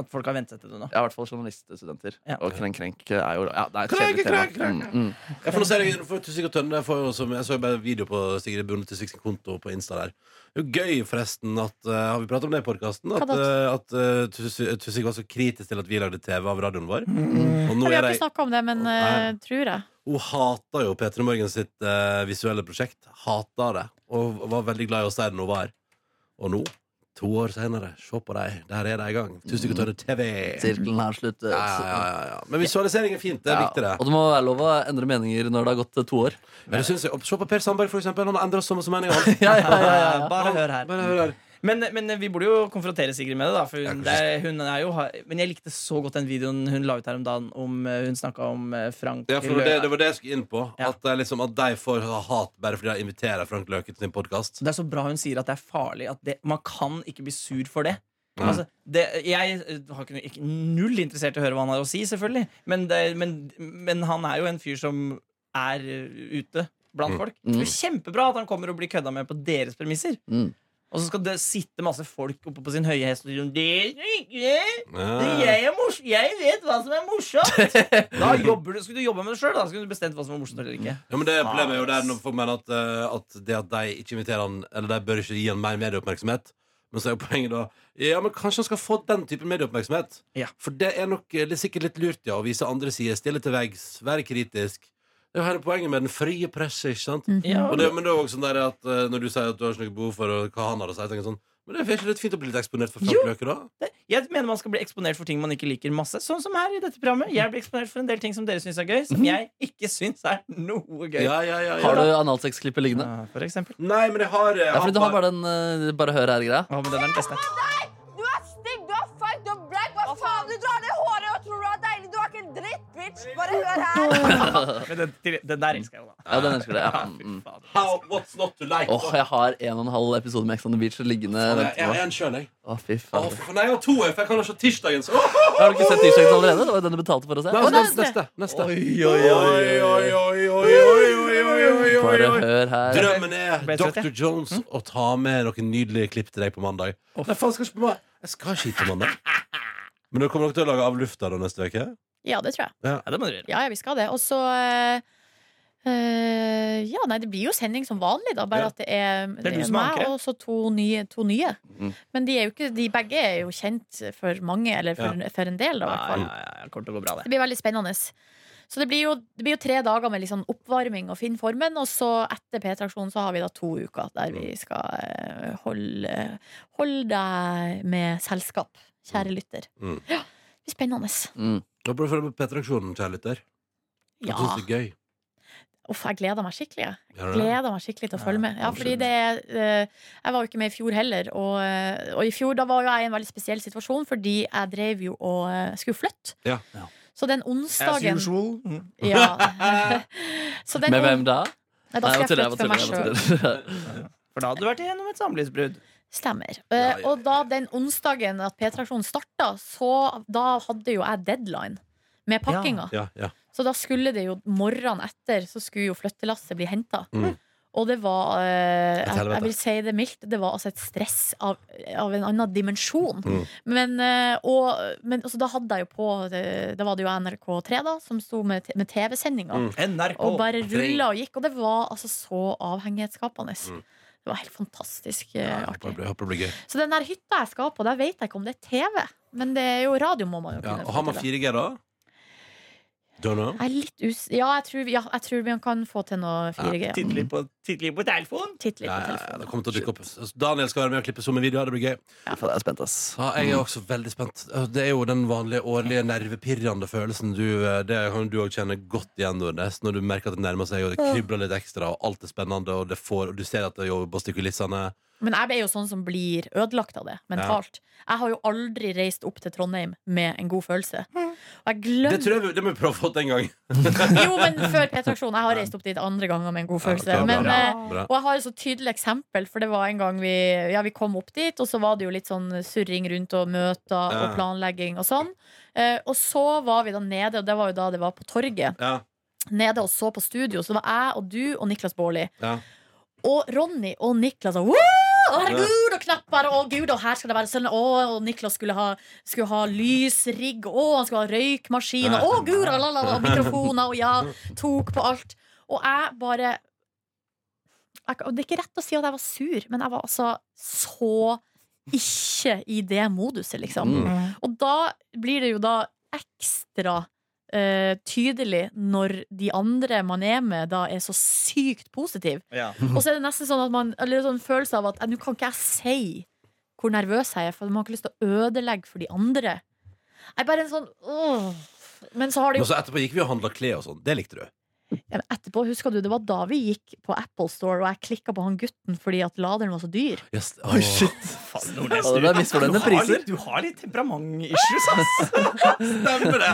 E: At folk har ventet til det nå.
D: Ja, i hvert fall journaliststudenter.
E: Ja.
D: Og krenk-krenk er jo ja, det er et
B: Krenk,
D: kjedelig tema.
B: krenk, krenk.
D: Mm, mm.
B: Jeg får nå se deg for Tusvik og Tønne. Jeg, får jo som- jeg så jo bare video på Sigrid Bonde Tusvik sin konto på Insta der. Det er jo gøy, forresten, at eh, Har vi pratet om det i podkasten? At,
C: Hva da?
B: eh, at eh, Tusvik Tusvik var så kritisk til at vi lagde TV av radioen vår. Og nå er
C: Vi Mm. har ikke
B: de
C: snakka om det, men
B: Nei.
C: eh, tror jeg.
B: Hun hater jo P3 Morgen sitt eh, visuelle prosjekt. Hater det. Og var veldig glad i oss der når hun var her. Og nå, to år senere, se på dem. Der er de i gang. Tusvik og Tønne TV.
D: Sirkelen har sluttet.
B: Ja, ja, ja, ja. Men visualisering er fint. Det er
D: Ja,
B: viktig, det.
D: Og det må være lov å endre meninger når det har gått eh, to år.
B: Men det synes jeg, Se på Per Sandberg, for eksempel. Han har endra så mye mening. Han-
D: Ja, ja, ja, ja.
E: Eh, Bare hør her.
B: Bare hør her.
E: Men, men eh, vi burde jo konfrontere Sigrid med det. da For
B: Ja,
E: hun, det er, hun er jo ha- Men jeg likte så godt den videoen hun la ut her om dagen. Om, eh, hun snakka om eh, Frank
B: Ja, for det, var det, det var det jeg skulle inn på.
E: Ja.
B: At, det er liksom, at de får ha hat bare fordi de inviterer Frank Løke til sin podkast.
E: Så det er så bra hun sier at det er farlig. At det, man kan ikke bli sur for det. Altså, det jeg eh, har ikke, ikke null interessert i å høre hva han har å si, selvfølgelig. Men, det, men, men han er jo en fyr som er eh, ute
B: Mm.
E: blant folk. Det er kjempebra at han kommer og blir kødda med på deres premisser.
D: Mm.
E: Og så skal det sitte masse folk oppe på sin høye hest og si sånn «Det er ikke-
B: Ja.
E: jeg, er mors jeg vet hva som er morsomt! Da jobber du, skulle du jobbe med det sjøl. Da skulle du bestemt hva som var morsomt eller ikke.
B: Ja, men det er problemet er jo der når folk mener at, eh, at det at de ikke inviterer han Eller de bør ikke gi han mer medieoppmerksomhet. Men så er jo poenget da Ja, men kanskje han skal få den typen medieoppmerksomhet.
E: Ja.
B: For det er nok eh, det er sikkert litt lurt, ja. Å vise andre sider. Stille til veggs. Være kritisk. Det er jo hele poenget med den frie presse, ikke sant?
C: Mhm.
E: Ja,
B: Og det, men det er jo også sånn der at eh, når du sier at du har ikke noe behov for å- hva han har å si, tenker jeg sånn Men det er ikke litt fint å bli litt eksponert for
E: Jo.
B: Frank Løke, da?
E: Det- Jeg mener man skal bli eksponert for ting man ikke liker masse. Sånn som her i dette programmet. Jeg blir eksponert for en del ting som dere syns er gøy, som jeg ikke syns er noe gøy.
B: Ja, ja, ja, ja.
D: Har du analsexklippet liggende?
E: Ah, For eksempel.
B: Nei, men jeg har, jeg
D: Ja, fordi du har bare den eh, bare hør her-greia.
E: Å, men den er den beste.
A: Du er stygg, du er feig, du er black. Hva faen? Du drar ned håret og tror du er deilig. Du er ikke en dritt, bitch. Bare hør her.
E: Men den, til- den der elsker jeg jo, da.
D: Ja, den elsker jeg. Ja.
E: Ah, fy
D: Mm.
E: faen.
B: How, What's not to like?
D: Åh, jeg har en og en halv episode med Ex on the Beach liggende.
B: jeg,
D: vent
B: jeg har
D: på.
B: en sjøl, jeg.
D: Å, fy
B: Å,
D: faen.
B: for, nei, jeg har to. Jeg for jeg kan ha sett tirsdagens. Åh, åh, åh.
D: Har du ikke sett Tirsdags allerede? Det var jo den du betalte for å se.
B: Nei, altså,
D: Å,
B: neste, neste, neste. Oi, oi, oi, oi, oi, oi, oi, oi,
D: Bare
B: oi.
D: hør her.
B: Drømmen er
E: Ble jeg trøtt,
B: Dr. Jones å ta med noen nydelige klipp til deg på mandag. Nei, faen, skal ikke på mandag. Jeg skal ikke hit på mandag. Men dere kommer nok til å lage av lufta da neste uke?
C: Ja, det tror jeg.
E: Ja, det må du gjøre.
C: Ja, ja, vi skal det. Og så eh, eh, Ja, nei, det blir jo sending som vanlig, da.
B: Ja.
C: Bare at det er,
E: er du
C: det er
E: som
C: meg
E: anker.
C: og så to nye. To nye.
D: Mm.
C: Men de er jo ikke De begge er jo kjent for mange, eller for, for en del, da, i hvert
E: Ja,
C: fall.
E: ja, ja, kommer til å gå bra, det.
C: Det blir veldig spennende. Så det blir jo, det blir jo tre dager med litt sånn oppvarming og finn formen, og så etter P-traksjonen så har vi da to uker der vi skal eh, holde, holde deg med selskap, kjære lytter.
B: Mm.
C: Ja, det blir spennende.
D: Mm.
B: Da bør du følge med på P3-aksjonen, kjære lytter. Jeg
C: Ja.
B: synes det er gøy.
C: Uff, jeg gleder meg skikkelig. jeg.
B: Gjør du det?
C: Gleder meg skikkelig til å følge med. Ja, fordi det er, eh, Jeg var jo ikke med i fjor heller, og, eh, og i fjor da var jo jeg i en veldig spesiell situasjon, fordi jeg drev jo og eh, skulle flytte.
B: Ja.
D: Ja.
C: Så den
E: As
C: onsdagen
E: usual. Mm.
C: ja. Så den
D: Med
C: on-
D: hvem da?
C: Nei, da skal jeg
D: tuller,
C: flytte for meg
D: jeg bare
C: sjøl.
D: tuller, jeg bare tuller.
E: For da hadde du vært igjennom et samlivsbrudd.
C: Stemmer.
B: ja,
C: Eh,
B: ja.
C: Og da den onsdagen at P-traksjonen starta, så da hadde jo jeg deadline med pakkinga.
B: Ja, ja.
C: Så da skulle det jo morgenen etter så skulle jo flyttelasset bli henta.
B: Mm.
C: Og det var eh,
B: Et
C: jeg,
B: helvete.
C: jeg vil si det mildt. Det var altså et stress av, av en annen dimensjon.
B: Mm.
C: Men, eh, og, men altså, da hadde jeg jo på eh, Da var det jo NRK3 da som sto med, t- med TV-sendinga.
B: Mm.
E: NRK.
C: Og bare
B: tre.
C: rulla og gikk. Og det var altså så avhengighetsskapende.
B: Mm.
C: Det var helt fantastisk eh,
B: Ja, jeg håper
C: artig.
B: det blir- jeg håper det blir gøy.
C: Så den der hytta jeg skal på, der vet jeg ikke om det er TV. Men det er jo radio, må man jo
B: Ja,
C: kunne
B: og har man
C: få til.
B: 4G da? Don't know.
C: Jeg er litt us... Ja, jeg tror, ja, jeg tror man kan få til noe 4G. Ja.
E: Tittelig på, tittelig på telefon.
C: Titt litt
B: Ja, ja, ja,
C: på
B: det
C: telefonen.
B: kommer til å dukke opp. Altså, Daniel skal være med og klippe sommervideoer. Det blir gøy.
D: Fy faen, Jeg er spent, ass.
B: Ja, jeg er også veldig spent. Eh, Det er jo den vanlige årlige nervepirrende følelsen. Du, eh, det kan du òg kjenne godt igjen, Nordnes, når du merker at det nærmer seg, og det kribler litt ekstra, og alt er spennende, og, det får, og du ser at det jobbes i kulissene.
C: Men jeg er jo sånn som blir ødelagt av det mentalt. Jeg har jo aldri reist opp til Trondheim med en god følelse. Og jeg
B: Mm. Det
C: glemmer
B: tror jeg vi, det må vi prøve å få til en gang.
C: Jo, men før P-traksjonen. Jeg har reist opp dit andre ganger med en god følelse.
B: Ja, ok,
C: men
B: bra.
C: eh,
B: Bra.
C: Og jeg har et så tydelig eksempel, for det var en gang vi, ja, vi kom opp dit, og så var det jo litt sånn surring rundt og møter
B: Ja.
C: og planlegging og sånn. Eh, og så var vi da nede, og det var jo da det var på torget,
B: Ja,
C: nede og så på studio. Så det var jeg og du og Niklas Baarli.
B: ja.
C: Og Ronny og Niklas og, «Woo!» Å, herregud, og knapper, og gud, og her skal det være sånn. Å, og Niklas skulle ha, skulle ha lysrigg, å, han skulle ha røykmaskin, og å, gud, og, la, la, la, og mikrofoner, og ja, tok på alt. Og jeg bare jeg, og Det er ikke rett å si at jeg var sur, men jeg var altså så ikke i det moduset, liksom.
D: Mm.
C: Og da blir det jo da ekstra eh, tydelig når de andre man er med, da er så sykt positive.
E: Ja.
C: Og så er det nesten sånn at man Eller sånn følelse av at eh, Nå kan ikke jeg si hvor nervøs jeg er For man har ikke lyst til å ødelegge for de andre Jeg er bare en sånn åh. Men så har det
B: Men
C: jo
B: så etterpå gikk vi og handla klær og sånn. Det likte du.
C: Ja, men Etterpå, husker du, det var da vi gikk på Apple Store Og jeg klikket på han gutten fordi at laderen var så dyr
B: Yes.
D: Oi, shit.
E: Faen, Nordnes,
D: Ja, det
E: du-
D: ble misfornøyende
E: du har
D: priser.
E: litt- Du har litt temperament-issues, ass.
B: Stemmer det!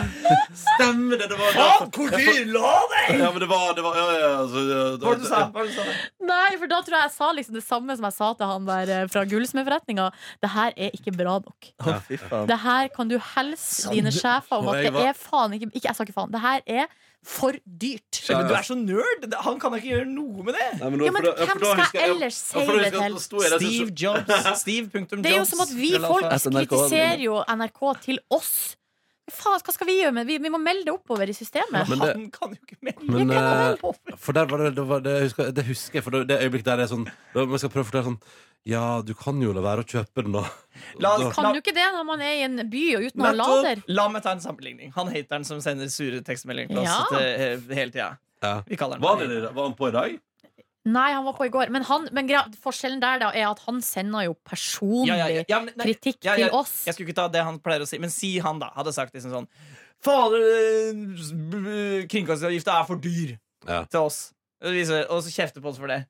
B: Stemmer det! Det var
E: hvor dyr lå deg!
B: Ja, men det var, det var Ja, ja, altså, ja. Så, ja, det
E: Hva var det du sa?
B: var-
E: Hva var det du sa?
C: Nei, for da tror jeg jeg sa liksom det samme som jeg sa til han der eh, fra gullsmedforretninga Det her er ikke bra nok
D: Å, fy faen.
C: Det her kan du helse dine sjefer om
B: Og
C: at
B: jeg
C: det
B: var-
C: er faen ikke, ikke Jeg sa ikke faen, det her er for dyrt
E: Men du er så nerd! Det- Han kan da ikke gjøre noe med det!
B: Nei, men nå-
C: Ja, men
B: for da- ja, for
C: hvem
B: da
C: skal
B: husker jeg- ja,
C: ellers
B: for
C: si
B: da husker
C: det
B: jeg at
C: til?
B: da sto jeg der, så-
E: Steve Jobs. Steve.jobs.
C: Det er jo som at vi folk
D: At NRK
C: kritiserer jo NRK til oss. Faen, hva skal vi gjøre med det? Vi, vi må melde det oppover i systemet.
B: Men det-
E: Han kan jo ikke melde
B: Men, eh,
E: på
B: For der var det, det, var det, jeg husker, det husker jeg, for det, det øyeblikket der er sånn da Man skal prøve å forklare sånn Ja, du kan jo la være å kjøpe den, da.
E: La
B: da
E: oss-
C: Kan jo ikke det når man er i en by og uten å ha
E: Nettopp.
C: lader.
E: La meg ta en sammenligning. Han hateren som sender sure tekstmeldinger til oss
C: Ja.
E: til, eh, hele tida.
B: Ja.
E: Vi kaller
B: var,
E: han
B: det, var han på i dag?
C: Nei, han var på i går. Men, han, men greia- forskjellen der da er at han sender jo personlig
E: Ja, ja, ja, ja, men- nei,
C: kritikk
E: ja, ja,
C: til oss.
E: Jeg skulle ikke ta det han pleier å si, men si han, da. Hadde sagt liksom sånn Fader, eh, b- b- kringkastingsavgifta er for dyr
B: Ja.
E: til oss. Og vi så- og så kjefter på oss for det.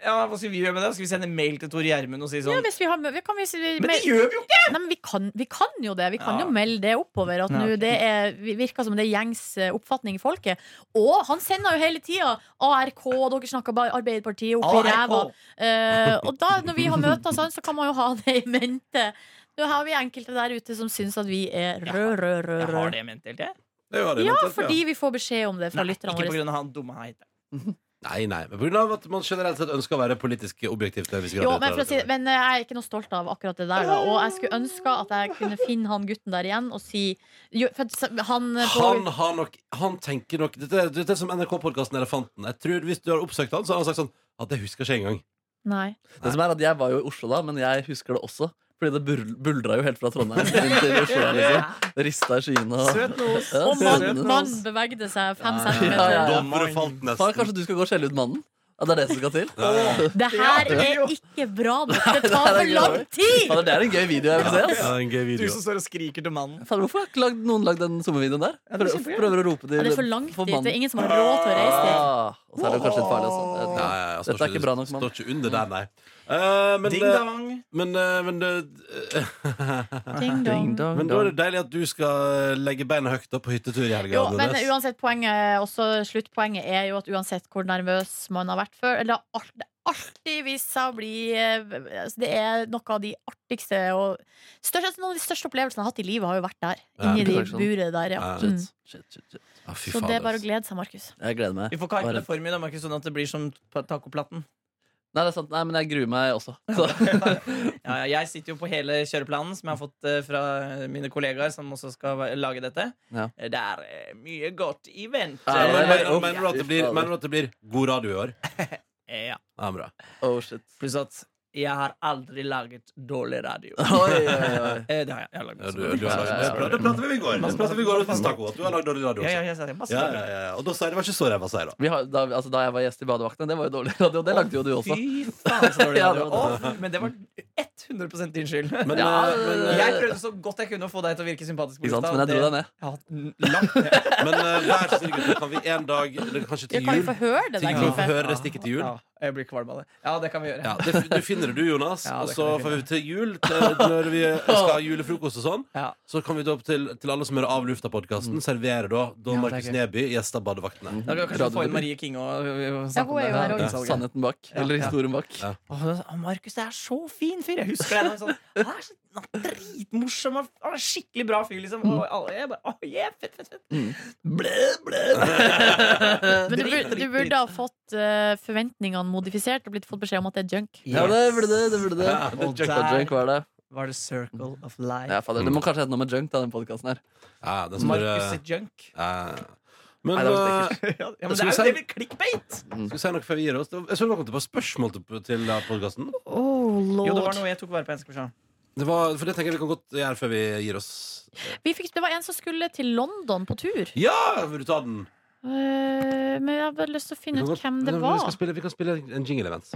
E: Ja, Hva skal vi gjøre med det? Skal vi sende mail til Tore Gjermund og si
C: Ja,
E: sånn?
C: hvis vi har, vi kan vi, si- vi,
E: Men det
C: mel-
E: gjør vi jo ikke!
C: nei, men vi, kan, vi kan jo det. Vi kan
E: Ja.
C: jo melde det oppover. At
E: Ja.
C: nå det er, vi- virker som det er gjengs eh, oppfatning i folket. Og han sender jo hele tida ARK, og dere snakker bare Arbeiderpartiet opp i ræva.
E: ARK.
C: Eh, og da, når vi har møter sånn, så kan man jo ha det i mente. Nå har vi enkelte der ute som syns at vi er rød, rød, rød.
E: Jeg har
C: rød.
E: det ment hele tida.
B: Det var det,
C: Ja,
B: nettopp,
C: fordi vi får beskjed om det fra
E: Nei,
C: lytterne
E: Ikke på
C: våre.
E: grunn av han dumme hateren.
B: Nei, nei, men på grunn av at man generelt sett ønsker å være politisk objektiv til en viss grad.
C: Jo, men, for å si, men eh, jeg er ikke noe stolt av akkurat det der. Da. Og jeg skulle ønske at jeg kunne finne han gutten der igjen og si jo, for at s- han, eh, på,
B: han har nok Han tenker nok Dette, er- dette er som NRK-podkasten Elefanten. Jeg tror Hvis du har oppsøkt han, så har han sagt sånn at jeg husker ikke engang.
C: Nei.
D: Det som er at Jeg var jo i Oslo da, men jeg husker det også. Fordi det bul- buldra jo helt fra Trondheim inn til Oslo. Liksom. Det rista i skyene. Og...
E: Søt nos.
D: Ja,
C: Og
D: søt
C: mannen
D: nos.
C: mann bevegde seg fem
D: Ja, ja, ja.
C: centimeter.
B: Dommere falt
D: Faen,
B: nesten.
D: kanskje du skal gå og skjelle ut mannen? Ja, det er det som skal til?
C: Det her er ikke bra nok. Det tar for lang tid!
D: Fader, det er en gøy video jeg vil se. ass.
B: Ja, en gøy
E: Du
B: video.
E: som står og skriker til mannen.
D: Fader, hvorfor har ikke lagd, noen lagd den sommervideoen der?
E: det er
D: Prøver,
E: kjempegøy.
D: prøver å rope
C: Ja,
D: til
C: Det er for langt dit. Det er
D: mannen.
C: ingen som har råd til å reise dit.
D: Ah, og så er det jo kanskje litt farlig også. Jeg vet
B: Nei,
D: ikke.
B: ja, ja,
D: Dette er ikke bra nok, mann.
B: Står ikke under der, nei. Eh, men,
E: Ding
B: eh,
E: dong.
B: men, eh, men, eh,
C: Ding
D: Ding,
C: dong.
D: dong,
B: men da
D: dong.
B: er det deilig at du skal eh, legge beina høyt da på hyttetur i helga.
C: Jo, men
B: Nordnes.
C: uansett poenget Også sluttpoenget er jo at uansett hvor nervøs man har vært før Eller det har alt- det har alltid vist seg å bli eh, altså Det er noe av de artigste og største, altså Noen av de største opplevelsene jeg har hatt i livet Har jo vært der,
B: Ja,
C: inni de
D: ikke sant?
C: buret der ja.
B: Ja.
C: mm.
D: Shit, shit, shit, shit.
B: Ja, fy
C: Så
B: faen,
C: det er bare å
B: altså.
C: glede seg, Markus
D: Jeg gleder meg.
E: Vi får
D: Bare-
E: kartlegge formen, da, Markus, sånn at det blir som pa- tacoplatten.
D: Nei, det er sant. Nei, men jeg gruer meg også. Så.
E: Ja, ja, jeg sitter jo på hele kjøreplanen som jeg har fått eh, fra mine kollegaer som også skal va- lage dette.
D: Ja.
E: Eh, Det er eh, mye godt i vente.
D: Ja,
B: Ja, men,
D: det er-
B: mener, mener, du at det blir, mener du at det blir god radio i år?
E: Eh, ja.
B: Ja, bra.
D: Oh, shit.
E: Pluss at jeg har aldri laget dårlig radio.
D: Oi, oi, oi.
E: Eh, Det har jeg. jeg har laget
B: Ja,
E: masse
B: du,
E: dårlig
B: du har lagd,
D: Ja,
E: radio.
D: ja, ja.
B: det pratet- det pratet vi om i går. Det pratet vi i går om Taco, at du har lagd dårlig radio
E: Ja, ja,
B: også.
E: jeg sa det. Masse
B: Ja, ja,
E: dårlig radio.
B: ja, ja. Og da sa jeg det var ikke så ræva, sier jeg da.
D: Vi har, da, altså, da jeg var gjest i Badevakten, det var jo dårlig radio. Det lagde jo du også.
E: Fy faen, så dårlig
D: Ja,
E: radio.
D: det var
E: Å, men det var 100 din skyld.
B: Men,
D: Ja,
B: eh, men, eh,
E: Jeg prøvde så godt jeg kunne å få deg til å virke sympatisk. på
D: Ikke sant?
E: lufta,
D: Men jeg dro
E: og
D: deg ned.
E: det- Ja, langt ned.
B: men eh, vær så snill, gutter, kan vi en dag eller Kanskje
C: Jeg
B: til
C: kan
B: jul?
C: jo få høre det
B: Til
C: der
B: jul få
C: klippet
B: høre det stikket til jul?
E: Ja, jeg blir kvalm av det. Ja, det kan vi gjøre.
B: Ja, det, du finner det du, Jonas.
E: Ja,
B: og
E: det
B: så
E: kan jeg
B: får vi til jul, til, når vi eh, skal ha julefrokost og sånn,
E: Ja. Mm.
B: så kan vi da opp til, til alle som hører Av lufta-podkasten, servere da Don
E: Ja, det er
B: Markus
E: gøy. Mm.
B: Neby gjester Badevaktene.
E: Da kan vi kanskje
D: Radio-
E: få inn Marie King og, og, og
C: Ja,
E: snakke
C: hun
E: om
C: er jo her
E: det.
C: også
E: Ja.
D: Sannheten bak.
E: Ja,
D: Eller
E: ja.
D: historien bak.
B: Ja.
E: Åh, Markus, det er så fin fyr! Jeg husker det. Sånn, han er så han er dritmorsom og han er skikkelig bra fyr, liksom. Og alle, jeg bare, «Åh, yeah, fett, fett, fett.
D: Mm.
E: Blæ, blæ.
C: Men du
E: Drit,
C: burde,
E: drit,
C: du
E: drit.
C: burde ha fått eh, forventningene modifisert og blitt fått beskjed om at det er junk.
D: Ja, det burde det. det, burde det.
B: Ja,
E: det er
D: Junk
E: der.
D: og junk, hva er det?
E: Var det Circle of Life?
D: Ja, fader, det må kanskje hete noe med junk, da, den podkasten her.
B: Ja, den som
E: Markus
B: bare
E: sitt junk?
B: ja. Men
D: Nei, det var
B: eh,
D: litt
E: ja, men det
B: Skal vi
E: er
B: si-
E: jo det med clickbait!
B: skal vi si noe før vi gir oss? Det var- Jeg så det var kommet et par spørsmål til, til eh, podkasten.
C: Oh,
E: Jo, det var
C: lord.
E: noe jeg tok vare på. Jeg skal se.
B: Det, var- for det tenker jeg vi kan godt gjøre før vi gir oss.
C: Vi fikk, det var en som skulle til London på tur.
B: Ja! Vil du ta den?
C: Eh, men jeg har bare lyst til å
B: Vi
C: finne
B: kan
C: ut
B: godt-
C: hvem det
B: Nei, men Vi,
C: var.
B: skal spille, vi kan spille en jingle event.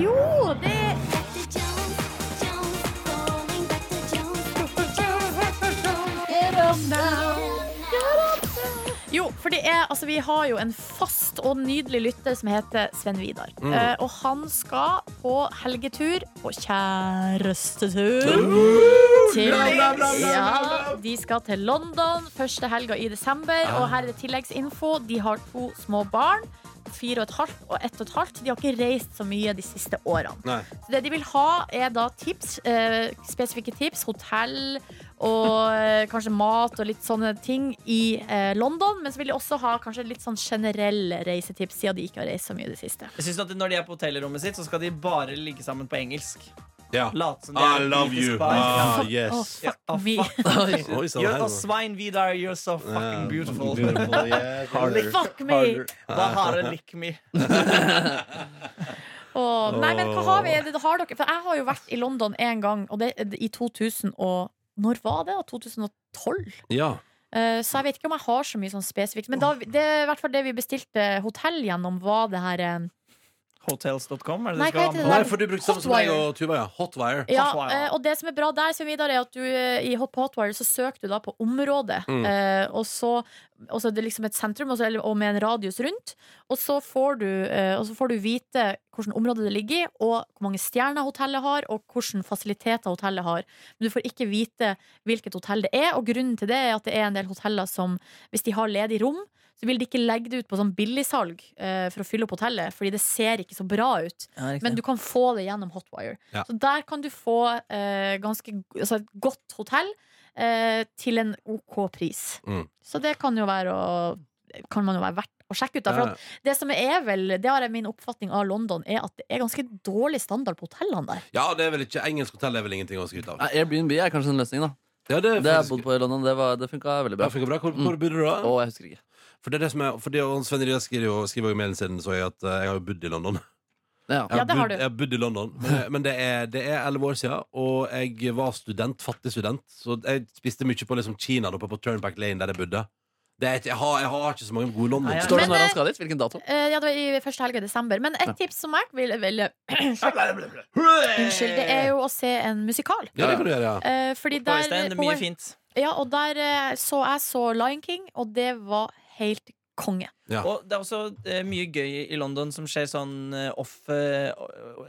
C: Jo, det Jo, for det er, altså, vi har jo en fast og nydelig lytter som heter Sven Vidar.
B: Mm.
C: Eh, og han skal på helgetur og kjærestetur til ja, De skal til London første helga i desember.
B: Ah.
C: Og her er det tilleggsinfo. De har to små barn. Fire og et halvt og ett og et halvt. De har ikke reist så mye de siste årene.
B: Nei.
C: Så det de vil ha, er da tips. Eh, spesifikke tips. Hotell og eh, kanskje mat og litt sånne ting i eh, London. Men så vil de også ha kanskje litt sånn generelle reisetips, siden de ikke har reist så mye i det siste.
E: Jeg synes at Når de er på hotellrommet sitt, så skal de bare ligge sammen på engelsk.
B: Ja.
E: Late som de
B: I
E: er et
B: love
E: britisk
B: you.
E: par.
B: Ah,
C: Å,
B: yes.
E: Ja,
C: fuck
E: ah,
C: me.
E: fuck.
B: Oi, sånn
E: You're
B: her,
E: a
B: da.
E: svein, Vidar. You're so
B: Ja,
E: fucking beautiful.
B: beautiful, yeah.
C: Fuck me.
E: Bahare lick me.
C: Åh, nei, men hva har vi? Det har dere, for jeg har jo vært i London én gang, og det, i 2000 og Når var det? da? 2012?
B: Ja.
C: Eh, så jeg vet ikke om jeg har så mye sånn spesifikt. Men da, det, i hvert fall det vi bestilte hotell gjennom, var det her eh,
E: Hotels.com? Er det
C: Nei,
E: det du skal
C: hva heter
E: ha
B: Nei,
E: med?
B: for du brukte samme som meg
C: Hotwire.
B: og Tuva, ja. Hotwire.
C: Ja,
E: Hotwire.
C: eh, og det som er bra der, Svein Vidar, er at du eh, i Hot Hotwire så søker du da på området.
B: Mm.
C: Eh, og, så, og så er det liksom et sentrum og, så, eller- og med en radius rundt. Og så får du, eh, og så får du vite hvilket område det ligger i, og hvor mange stjerner hotellet har, og hvilke fasiliteter hotellet har. Men du får ikke vite hvilket hotell det er, og grunnen til det er at det er en del hoteller som, hvis de har ledig rom, så vil de ikke legge det ut på sånn billigsalg eh, for å fylle opp hotellet, fordi det ser ikke så bra ut. Men du kan få det gjennom Hotwire.
B: Ja.
C: Så der kan du få eh, ganske, go- altså et godt hotell eh, til en OK pris.
B: Mm.
C: Så det kan jo være å, kan man jo være verdt å sjekke ut. Da, for
B: Ja.
C: at det som er vel, det har jeg min oppfatning av London, er at det er ganske dårlig standard på hotellene der.
B: ja, det er vel ikke engelsk hotell er vel ingenting å skryte av.
D: Nei, Airbnb er kanskje en løsning, da.
B: Ja, det er
D: Det har jeg
B: faktisk-
D: bodd på i London. Det, var- det funka veldig
B: Ja,
D: bra.
B: funker bra. Hvor, hvor bodde du da?
D: Og jeg husker ikke.
B: For det er det som er, for det, og Sven Elias skriver jo skriver jo i mailen sin så jeg at eh, jeg har jo bodd i London.
D: Ja.
B: Jeg
C: Ja, det har
B: bodd-
C: du.
B: Jeg har bodd i London, men, men det er det er elleve år siden, og jeg var student, fattig student, så jeg spiste mye på liksom Kina oppe på Turnback Lane, der jeg bodde. Det er, ikke- jeg, har, jeg har ikke så mange gode London.
E: Nei, jeg-
D: Står det
C: Men,
D: når
C: eh,
D: han skal dit? Hvilken dato?
C: Eh, ja, det var i første helga i desember. Men et tips som jeg ville vil, Unnskyld, det er jo å se en musikal.
B: Ja, det kan du gjøre, ja.
C: Eh, fordi der,
E: Øystein, det er mye fint.
C: ja, og der eh, så jeg så Lion King, og det var helt konge.
B: Ja.
E: Og det er også eh, mye gøy i London som skjer sånn eh, off eh,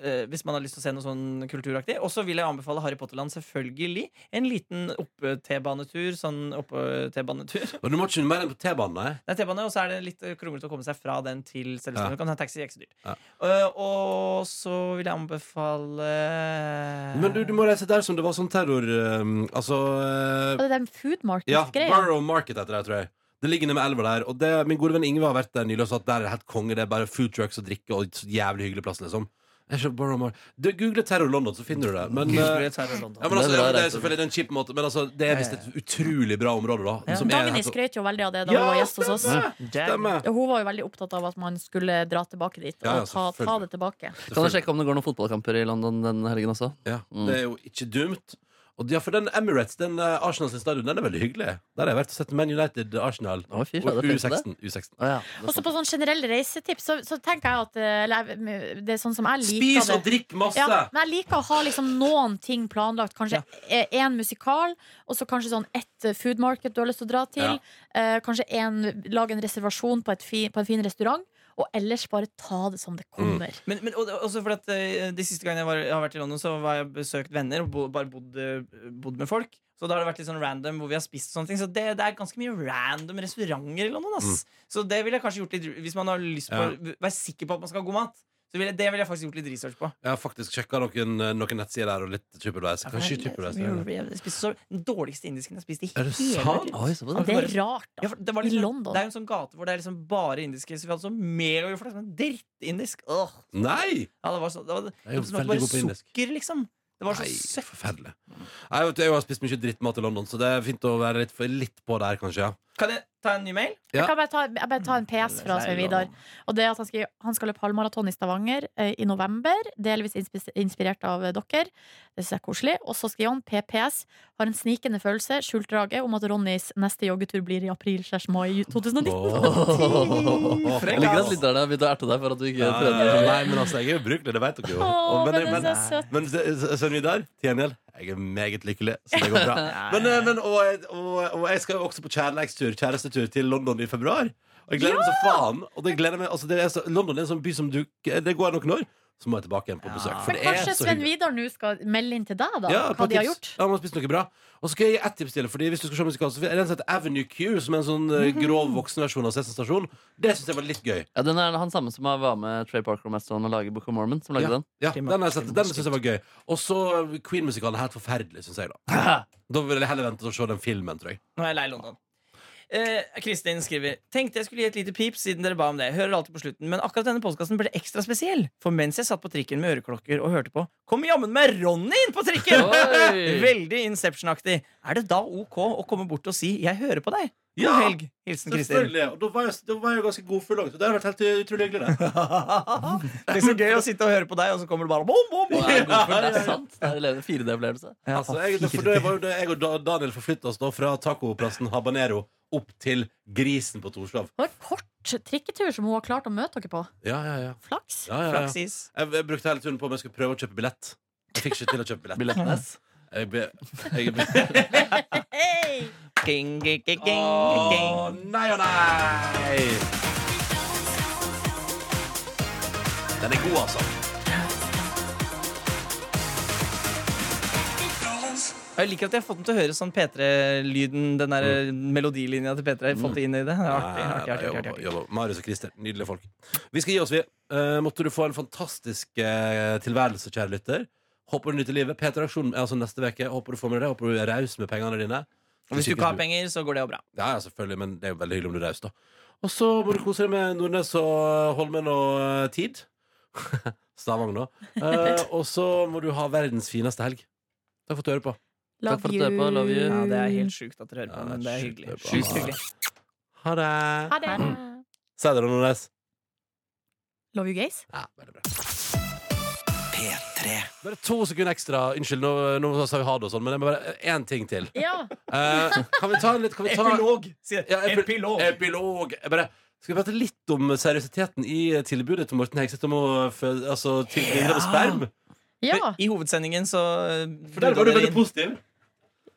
E: eh, Hvis man har lyst til å se noe sånn kulturaktig. Og så vil jeg anbefale Harry Potterland, selvfølgelig. En liten opp-T-banetur. Sånn opp-T-banetur.
B: Og du må ikke mer enn på T-banen, nei.
E: Det er T-bane, og så er det litt kronglete å komme seg fra den til
B: Ja.
E: selvstyret. Du kan ta taxi, det er ikke så dyrt.
B: Ja.
E: Eh, og så vil jeg anbefale
B: Men du, du må reise der som det var sånn terror... eh, altså... eh,
C: Og det er den food
B: Ja,
C: market-greia.
B: Borough Market heter det, tror jeg. Det ligger nede med elva der. Og det, min gode venn Ingve har vært der nylig og sa at der er det helt konge. Det er bare food trucks og drikke og så jævlig hyggelig plass, liksom. Jeg ser Borough Mar- Du, Google Terror London, så finner du det. Men, eh, ja, men altså,
D: Det
B: det,
D: er bra
B: er, det er
D: reise.
B: selvfølgelig en kjip måte, men altså, det er visst et utrolig bra område, da.
E: Ja.
B: som er altså.
C: Dagny
B: helt-
C: skrøt jo veldig av det da
B: Ja,
C: hun var gjest hos oss.
B: stemmer!
E: Damn.
B: Stemmer.
C: Og hun var jo veldig opptatt av at man skulle dra tilbake dit.
B: Ja, ja,
C: og ta, ta
B: selvfølgelig.
C: det tilbake
D: Kan dere sjekke om det går noen fotballkamper i London den helgen også?
B: Ja, det er jo ikke dumt. Og ja, for den Emirates, den eh, Arsenal sin stadion, den er veldig hyggelig. Der har jeg vært og sett Man United, Arsenal
D: Å, fy fader,
B: og
D: tenkte du
B: U16. U16.
D: Å, ja.
C: Og så på sånn generell reisetips så, så tenker jeg at eh, eller, jeg- det er sånn som jeg liker
B: Spis og
C: det.
B: drikk masse!
C: Ja, men jeg liker å ha liksom noen ting planlagt. Kanskje eh, en musikal, og så kanskje sånn ett eh, food market du har lyst til å dra til.
B: Ja.
C: Eh, kanskje en, lage en reservasjon på, et fi, på en fin restaurant. Og ellers bare ta det som det kommer.
E: Men, men og, også fordi at eh, De siste gangene jeg, var, jeg har vært i London, Så har jeg besøkt venner og bo, bare bodd, eh, bodd med folk. Så da har det vært litt sånn random hvor vi har spist og sånne ting. Så det, det er ganske mye random restauranter i London. Ass. Så det ville jeg kanskje gjort litt Hvis man har lyst på
B: Mm. Ja.
E: å være sikker på at man skal ha god mat. Så vil jeg, det ville jeg faktisk gjort litt research på.
B: Jeg har faktisk sjekka noen, eh, noen nettsider der og litt trippelveis. Kanskje trippelveis. Er
E: Jeg spiste så, den dårligste indisken jeg spiste i
B: det
E: hele
B: sant?
D: Oi, så på
C: Ja,
D: det.
C: det er rart, da.
E: Ja, for det, var
C: I
E: liksom,
C: London.
E: det er jo en sånn gate hvor det er liksom bare indiske. Så vi hadde sånn så megajordflaks, men drittindisk. Åh.
B: Nei!
E: Ja, det var så, det var,
B: er jo
E: det smakte
B: veldig
E: bare
B: god på indisk.
E: sukker, liksom. Det var så
B: Nei,
E: søtt.
B: forferdelig. Nei, vet du, jeg har spist mye drittmat i London, så det er fint å være litt, litt på der, kanskje. Ja.
E: Kan jeg ta en ny mail?
B: Ja.
C: Jeg kan bare ta, jeg bare ta en PS fra Svein Vidar. Og det at han skal, han skal løpe halvmaraton i Stavanger eh, i november, delvis inspis- inspirert av eh, dere. Det synes jeg er koselig. Og så skriver han PPS har en snikende følelse, skjult drage, om at Ronnys neste joggetur blir i april slash mai 2019.
D: Jeg liker at lytterne har begynt å erte deg for at du ikke
B: Ja, ja,
D: trener.
B: ja. Nei, men altså, jeg er ubrukelig, det vet dere jo.
C: Åh,
B: Og-
C: men det er
B: men,
C: så søtt.
B: men eh, sønnen min der, til gjengjeld, jeg er meget lykkelig, så det går bra. Men, eh, men, og, jeg- og, og jeg skal jo også på kjærleikstur, kjærestetur til London i februar. Og jeg gleder meg så faen. Og det gleder jeg meg, altså, det er så, London er en sånn by som du Det går noen år, så må jeg tilbake igjen på besøk.
E: Ja.
B: For
C: Men
B: det er
C: kanskje
B: så
C: Svein
B: hyggelig.
C: Vidar nå skal melde inn til deg, da?
B: Ja,
C: hva
B: på
C: de har
B: tips.
C: gjort?
B: Ja, man har spist noe bra. Og så skal jeg gi ett tips til. Fordi hvis du skal se musikal, så er det en som heter Avenue Q, som er en sånn eh,
C: Mhm.
B: grov voksenversjon av Sesam Stasjon. Det syns jeg var litt gøy.
D: Ja, den er han samme som var med Trey Parker og Matt Stone og lager Book of Mormon. Som lagde
B: Ja,
D: den
B: ja den
E: Klima-
B: har jeg sett. Den syns jeg
E: klimastyrt.
B: var gøy. Og så Queen-musikalen er helt forferdelig, syns jeg, da. Da vil jeg heller vente til å se den filmen, tror jeg.
E: Nå er jeg lei London. Eh, Kristin skriver Tenkte jeg skulle gi et lite pip siden dere ba om det. Jeg Hører alltid på slutten Men akkurat denne podkasten ble ekstra spesiell. For mens jeg satt på trikken med øreklokker og hørte på, kom jammen meg Ronny inn på trikken!
D: Oi!
E: Veldig Inception-aktig. Er det da ok å komme bort og si 'jeg hører på deg'? God
B: Ja,
E: helg. Hilsen Kristin.
B: Og da var jeg, da var jeg jo ganske godfull òg, så det har vært helt utrolig hyggelig, det.
E: det er så gøy å sitte og høre på deg, og så kommer det bare bom, bom,
D: Det er,
E: bom.
D: god, for det er sant. Det er en 4D-opplevelse.
E: Ja,
B: Altså, jeg, for det var jo det jeg og Da- Daniel forflytta oss da fra tacoplassen Habanero opp til Grisen på Torshov.
C: Det var en kort trikketur som hun har klart å møte dere på.
B: Ja, ja, ja.
C: Flaks.
B: ja, ja, ja.
E: Flaksis.
B: Jeg, jeg brukte hele turen på om jeg skulle prøve å kjøpe billett. Jeg fikk ikke til å kjøpe billett.
D: Billettnes.
B: Jeg ble, jeg ble.
C: Hey!
E: Ding, ding, ding, ding,
B: Åh,
E: ding.
B: nei og nei! Den er god, altså.
E: Jeg liker at jeg har fått den til å høre sånn P3-lyden, den der
B: Mm.
E: melodilinja til P3. Fått det inn i det. Det er artig, artig, artig, artig, artig.
B: Jobba, jobba. Marius og Christer, nydelige folk. Vi skal gi oss, vi. Eh, måtte du få en fantastisk eh, tilværelse, kjære lytter. Håper du nyter livet. P3-aksjonen er altså neste uke. Håper du får med deg det. Håper du er raus med pengene dine.
E: Og hvis du ikke har penger, så går det jo bra.
B: Ja, ja, selvfølgelig, men det er jo veldig hyggelig om du er raus, da. Og så må du kose deg med Nordnes og Holmen og eh, Tid. Stavanger, da. Eh, og så må du ha verdens fineste helg. Takk for at du hører på.
D: Takk for at du er på. Love you.
E: Ja, det er helt sjukt at dere hører
B: Ja,
E: på, men det er
B: sjukt
E: hyggelig.
B: å høre på.
E: Sjukt hyggelig.
B: Ha det.
C: Ha det.
E: Mm.
B: Si det, da, Nordnes.
C: Love you, guys.
B: Ja, veldig bra. Bare to sekunder ekstra. Unnskyld, nå, nå sa vi ha det og sånn, men det må være én ting til.
C: Ja.
B: Eh, kan vi ta en litt kan vi ta,
E: Epilog! sier
B: Ja,
E: jeg.
B: epi-
E: Epilog!
B: Epilog. Jeg Bare, skal vi prate litt om seriøsiteten i tilbudet til Morten Hegseth om å fø- altså, tilby
E: Ja.
B: med sperm?
C: Ja.
E: I hovedsendingen så
B: For der var du veldig positiv.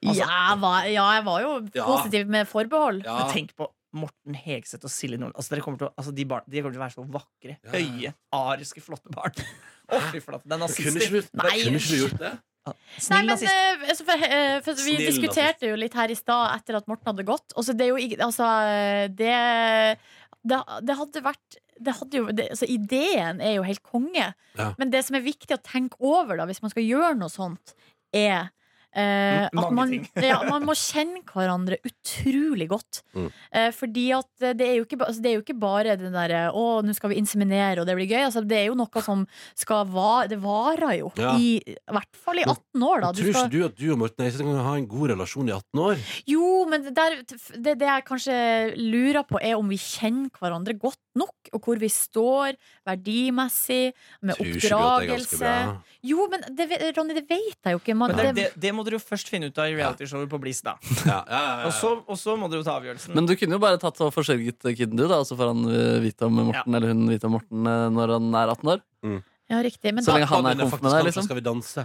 C: ja, jeg var, ja, jeg var jo
B: Ja.
C: positiv med forbehold.
B: Ja.
E: Tenk på Morten Hegseth og Silje Nordnes. Altså, dere kommer til å, altså, de, barn, de kommer til å være så vakre,
B: Ja.
E: høye, ariske, flotte barn. Å, fy flate. Det er
B: Kunne
E: nazister.
B: ikke, du-
C: Nei.
B: kunne ikke du gjort det?
C: Nei,
E: Snill
C: men
E: nazist.
C: eh, altså, for, eh, for Vi
B: Snill
C: diskuterte jo litt her i stad etter at Morten hadde gått. Og så det er jo ikke- Altså, eh, det, det, det hadde vært det hadde jo, det, altså, ideen er jo helt konge.
B: Ja.
C: Men det som er viktig å tenke over da hvis man skal gjøre noe sånt, er eh,
E: M- mange
C: at man,
E: ting.
C: ja, man må kjenne hverandre utrolig godt.
B: Mm.
C: Eh, fordi at eh, det er jo ikke, ba- altså, det er jo ikke bare den derre 'Å, nå skal vi inseminere, og det blir gøy'. Altså, det er jo noe som skal vare Det varer jo.
B: Ja.
C: I, I hvert fall i
B: Men
C: 18 år, da. Du
B: Tror ikke
C: skal,
B: du at du og Morten Hegseth kan ha en god relasjon i 18 år?
C: jo, men det, der, det, det jeg kanskje lurer på, er om vi kjenner hverandre godt nok, og hvor vi står verdimessig, med
B: Tror ikke du at det er ganske
C: oppdragelse.
B: bra?
C: Jo, men det, vet- Ronny, det vet jeg jo ikke. Man,
E: Men det, det,
C: det,
E: det må dere jo først finne ut av i realityshowet på Bliss, da.
B: Ja, ja, ja, ja.
E: Og så, og så må dere jo ta avgjørelsen.
D: Men du kunne jo bare tatt og forsørget kiden du, da, og så får han eh, vite om Morten eller hun vite om Morten eh, når han er 18 år.
C: ja, riktig. Men
D: Så
C: da,
D: lenge han er
B: Daniel
D: komf
B: faktisk
D: med deg,
B: kan, så
D: liksom.
B: Skal vi danse?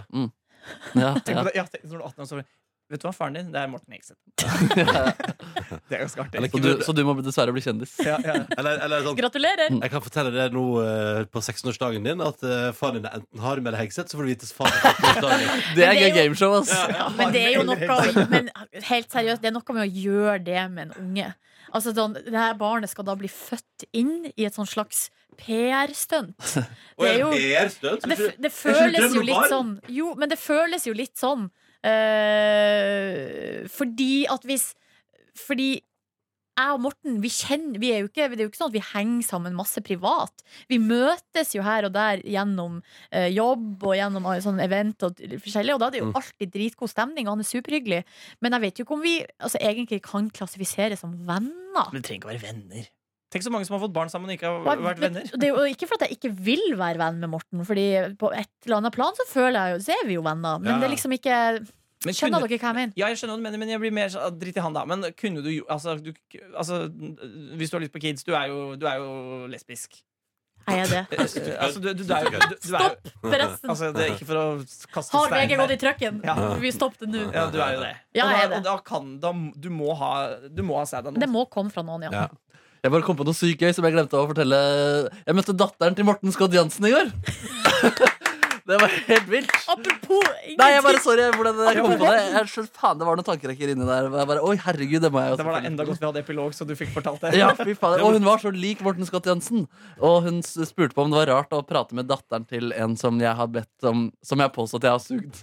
D: Ja,
E: Tenk
D: ja.
E: på det, ja, tenk, når du er 18 år, så er det, Vet du hva, faren din? Det er Morten Hegseth. Det er ganske artig.
B: Eller-
D: Så du, så du må dessverre bli kjendis.
E: Ja, ja.
B: Eller, eller sånn
C: Gratulerer!
B: Jeg kan fortelle det nå eh, på 16-årsdagen din, at eh, faren din er enten harm eller hegseth, så får du vite faren din er 16-årsdagen din.
D: Det
C: Men
D: er
C: det
D: gøy
C: er jo-
D: gameshow, ass.
C: Men det er jo noe å, men helt seriøst, det er noe med å gjøre det med en unge. Altså, sånn, det her barnet skal da bli født inn i et sånn slags PR-stunt.
B: Og
C: Det er
B: jeg
C: jo-
B: ler støtt.
C: Det, f- det
B: ikke det
C: føles jo
B: drømmen
C: litt
B: var?
C: sånn Jo, men det føles jo litt sånn eh, Fordi at hvis Fordi jeg og Morten, vi kjenner vi er jo ikke, Det er jo ikke sånn at vi henger sammen masse privat. Vi møtes jo her og der gjennom eh, jobb og gjennom eh, sånn event og t- forskjellig, og da er det jo
B: Mm.
C: alltid dritgod stemning, og han er superhyggelig. Men jeg vet jo ikke om vi altså, egentlig kan klassifiseres som venner.
E: Men du trenger ikke å være venner. Tenk så mange som har fått barn sammen og ikke
C: Og
E: har
C: jeg-
E: vært
C: men-
E: venner.
C: Det er jo ikke for at jeg ikke vil være venn med Morten, Fordi på et eller annet plan så føler jeg jo Så er vi jo venner, men
B: Ja.
C: det er liksom ikke
E: Men
C: Skjønner
E: kunne-
C: dere hva jeg mener?
E: Ja, jeg skjønner hva du mener, men jeg blir mer sånn ah, Drit i han, da. Men kunne du jo altså, du, altså, hvis du har lyst på kids Du er jo, du er jo lesbisk.
C: Er jeg det?
E: Eh, altså, du, du, du er jo, du, du er jo
C: Stopp, forresten!
E: Altså, det er ikke for å kaste
C: Har
E: stein
C: VG
E: her.
C: gått i trøkken?
E: Ja.
C: Vi stoppet det nå.
E: Ja, du er jo det.
C: Ja,
E: og
C: jeg
E: da,
C: er det.
E: og da kan da, Du må ha Du må ha sæd av
C: Det
E: noen.
C: må komme fra noen, ja.
B: Ja.
D: Jeg bare kom på noe sykt gøy som jeg glemte å fortelle. Jeg møtte datteren til Morten Skodd Jansen i går. Det var helt vilt.
C: Apropos
D: Nei, jeg
C: ingenting.
D: bare sorry hvordan jeg kom på det. Jeg skjønte, faen, Det var noen tankerekker inni der. Jeg bare, Oi, herregud, det må jeg jo
E: Det var da
D: selvfølgelig
E: enda
D: fortelle.
E: godt vi hadde epilog, så du fikk fortalt det.
D: Ja, fy faen. Og hun var så lik Morten Scott Jensen. Og hun s- spurte på om det var rart å prate med datteren til en som jeg har bedt om Som jeg har påstått jeg har sugd.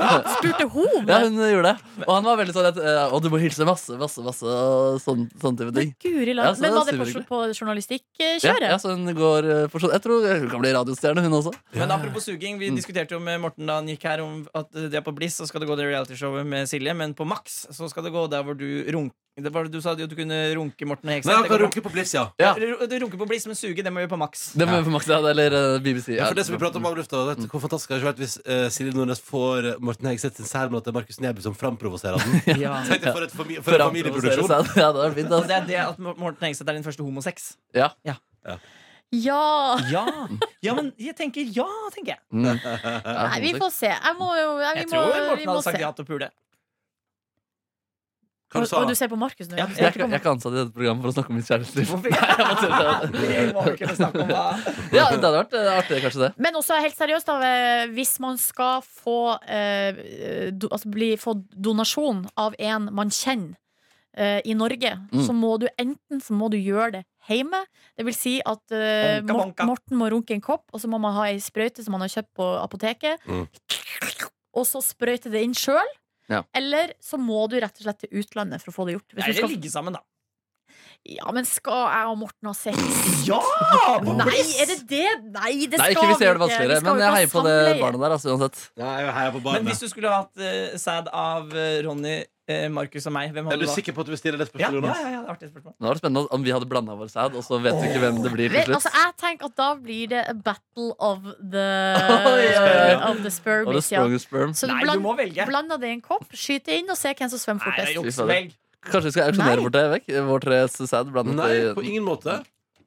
C: Spurte hun om
D: Ja,
C: det?
D: hun gjorde det. Og han var veldig sånn at eh, Å, du må hilse masse, masse, masse, og sånn, sånn type ting.
C: Men Guri
D: Ja,
C: land.
D: så
C: Men
D: det
C: var
D: er
C: det på,
D: superhyggelig.
C: på
D: Ja, ja,
C: journalistikkjøret?
D: så hun går eh, for sånn Jeg tror hun kan bli radiostjerne, hun også.
E: Men apropos suging,
B: Mm.
E: vi diskuterte jo med Morten da han gikk her om at eh, det er på Bliss, så skal det gå det realityshowet med Silje, men på Max så skal det gå der hvor du runker. Det var, du sa jo at du kunne runke Morten og
B: Nei,
E: Hegseth.
B: han kan runke på Bliss, ja.
E: Ja. ru- Du runker på Bliss, men suge, det må vi gjøre på Max.
D: Det må vi få maks av, eller eh, BBC.
B: Ja, for det som vi pratet om av lufta, vet du, Hvor fantastisk hadde det vært hvis eh, Silje Nordnes får eh, Morten Hegseth sin særmen at det er Markus Neby som framprovoserer den?
E: Ja.
B: Tenk deg for, et fami for en familieproduksjon.
D: Ja, det var fint,
E: Og det
D: altså.
E: er det at Morten Hegseth er din første homosex.
D: Ja.
C: Ja!
E: Ja. ja, men jeg tenker ja, tenker jeg.
D: Mm.
C: Nei, vi får se. Jeg må jo ja, vi
E: Jeg
C: må,
E: tror
C: vi
E: Morten
C: må
E: hadde
C: se.
E: sagt ja til å pule.
B: Hva du sa
C: Og du
B: du?
C: ser på Markus nå?
E: Ja,
D: Jeg, er ikke- jeg er ikke ansatt i dette programmet for å snakke om mitt kjærlighetsliv.
E: Hvorfor
D: Nei, jeg bare tuller.
E: Det må vi kunne snakke om, da.
D: Ja, det hadde vært eh, artig, kanskje det.
C: Men også helt seriøst, da, eh, hvis man skal få, eh, do, altså bli, få donasjon av en man kjenner eh, i Norge,
D: Mm.
C: så må du enten så må du gjøre det hjemme. Det vil si at eh,
E: Banka,
C: Mor-
E: banka.
C: Morten må runke en kopp, og så må man ha ei sprøyte som man har kjøpt på apoteket.
B: Mm.
C: Og så sprøyte det inn sjøl.
D: Ja.
C: Eller så må du rett og slett til utlandet for å få det gjort. Hvis du
E: Eller
C: skal,
E: ligge sammen, da.
C: ja, men skal jeg og Morten ha sex?
E: Ja!
C: Nei, er det det? Nei, det
D: Nei,
C: skal
D: ikke hvis jeg gjør det
C: vi
D: vanskeligere,
C: Vi skal jo
D: men jeg
C: ikke ha
D: heier på det
C: samleie.
D: barnet der, altså, uansett.
B: Nei, jeg heier på
E: Men hvis
B: barnet.
E: du skulle hatt eh, sæd av eh, Ronny, eh, Markus og meg, hvem
B: Er
E: hadde
B: du
E: du valgt?
B: sikker på at du vil stille det
E: Ja,
B: spørsmålet,
E: ja,
B: Jonas?
E: ja, ja, det er artig spørsmål.
D: Nå er det spennende om vi hadde blanda vår sæd, og så vet vi ikke hvem det blir
C: Vel,
D: til
C: altså,
D: slutt.
C: jeg tenker at da blir det a battle of the,
D: Oi,
B: oi, oi.
C: of the
D: Og det
C: spermies. Ja.
D: strongest sperm.
C: Så du
E: Nei, du
C: bland,
E: må velge.
C: blander det i en kopp, skyter inn og ser hvem som svømmer
E: Nei, det er
C: fortest.
E: juksevelg.
D: Kanskje vi skal auksjonere
C: Nei.
D: bort det vekk? Vår tres sæd blandet
B: Nei,
D: i-
B: på ingen måte.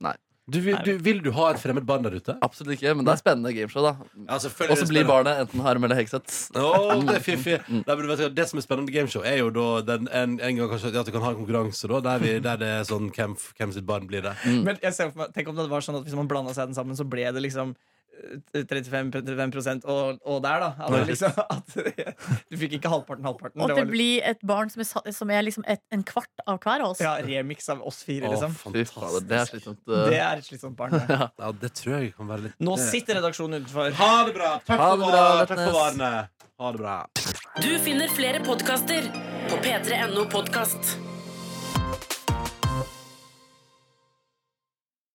D: Nei.
B: Du, vil- du, vil du ha et fremmed barn der ute?
D: Absolutt ikke, men det er spennende gameshow, da.
B: Ja, selvfølgelig.
D: Og så blir Mm. barnet enten harm eller heksett.
B: Åh, det er fiffig. Nei, men du vet hva, Det som er spennende gameshow, er jo da den, en, en gang kanskje at du kan ha en konkurranse da, der, vi, der det er sånn hvem, f- hvem sitt barn blir det.
D: Mm.
E: Men jeg ser for meg, tenk om det var sånn at hvis man blanda sæden sammen, så ble det liksom eh, 35-35 og, og der, da. At, det liksom, at, du fikk ikke halvparten, halvparten.
C: Og
E: Det
C: det
E: var litt,
C: blir et barn som er, sa- som er liksom et, en kvart av hver av oss.
E: ja, remix av oss fire,
B: Åh,
E: liksom.
D: Fy fader, det er
B: fantastisk.
D: slitsomt. uh,
E: Det er et slitsomt barn. det.
B: Ja, det tror jeg kan være litt
E: Nå
B: det-
E: sitter redaksjonen utenfor.
B: Ha det bra! Takk
D: Ha
B: for,
D: det bra,
B: var- takk for
D: Letnes.
B: varene. Ha det bra.
F: Du finner flere podkaster på p3.no podkast.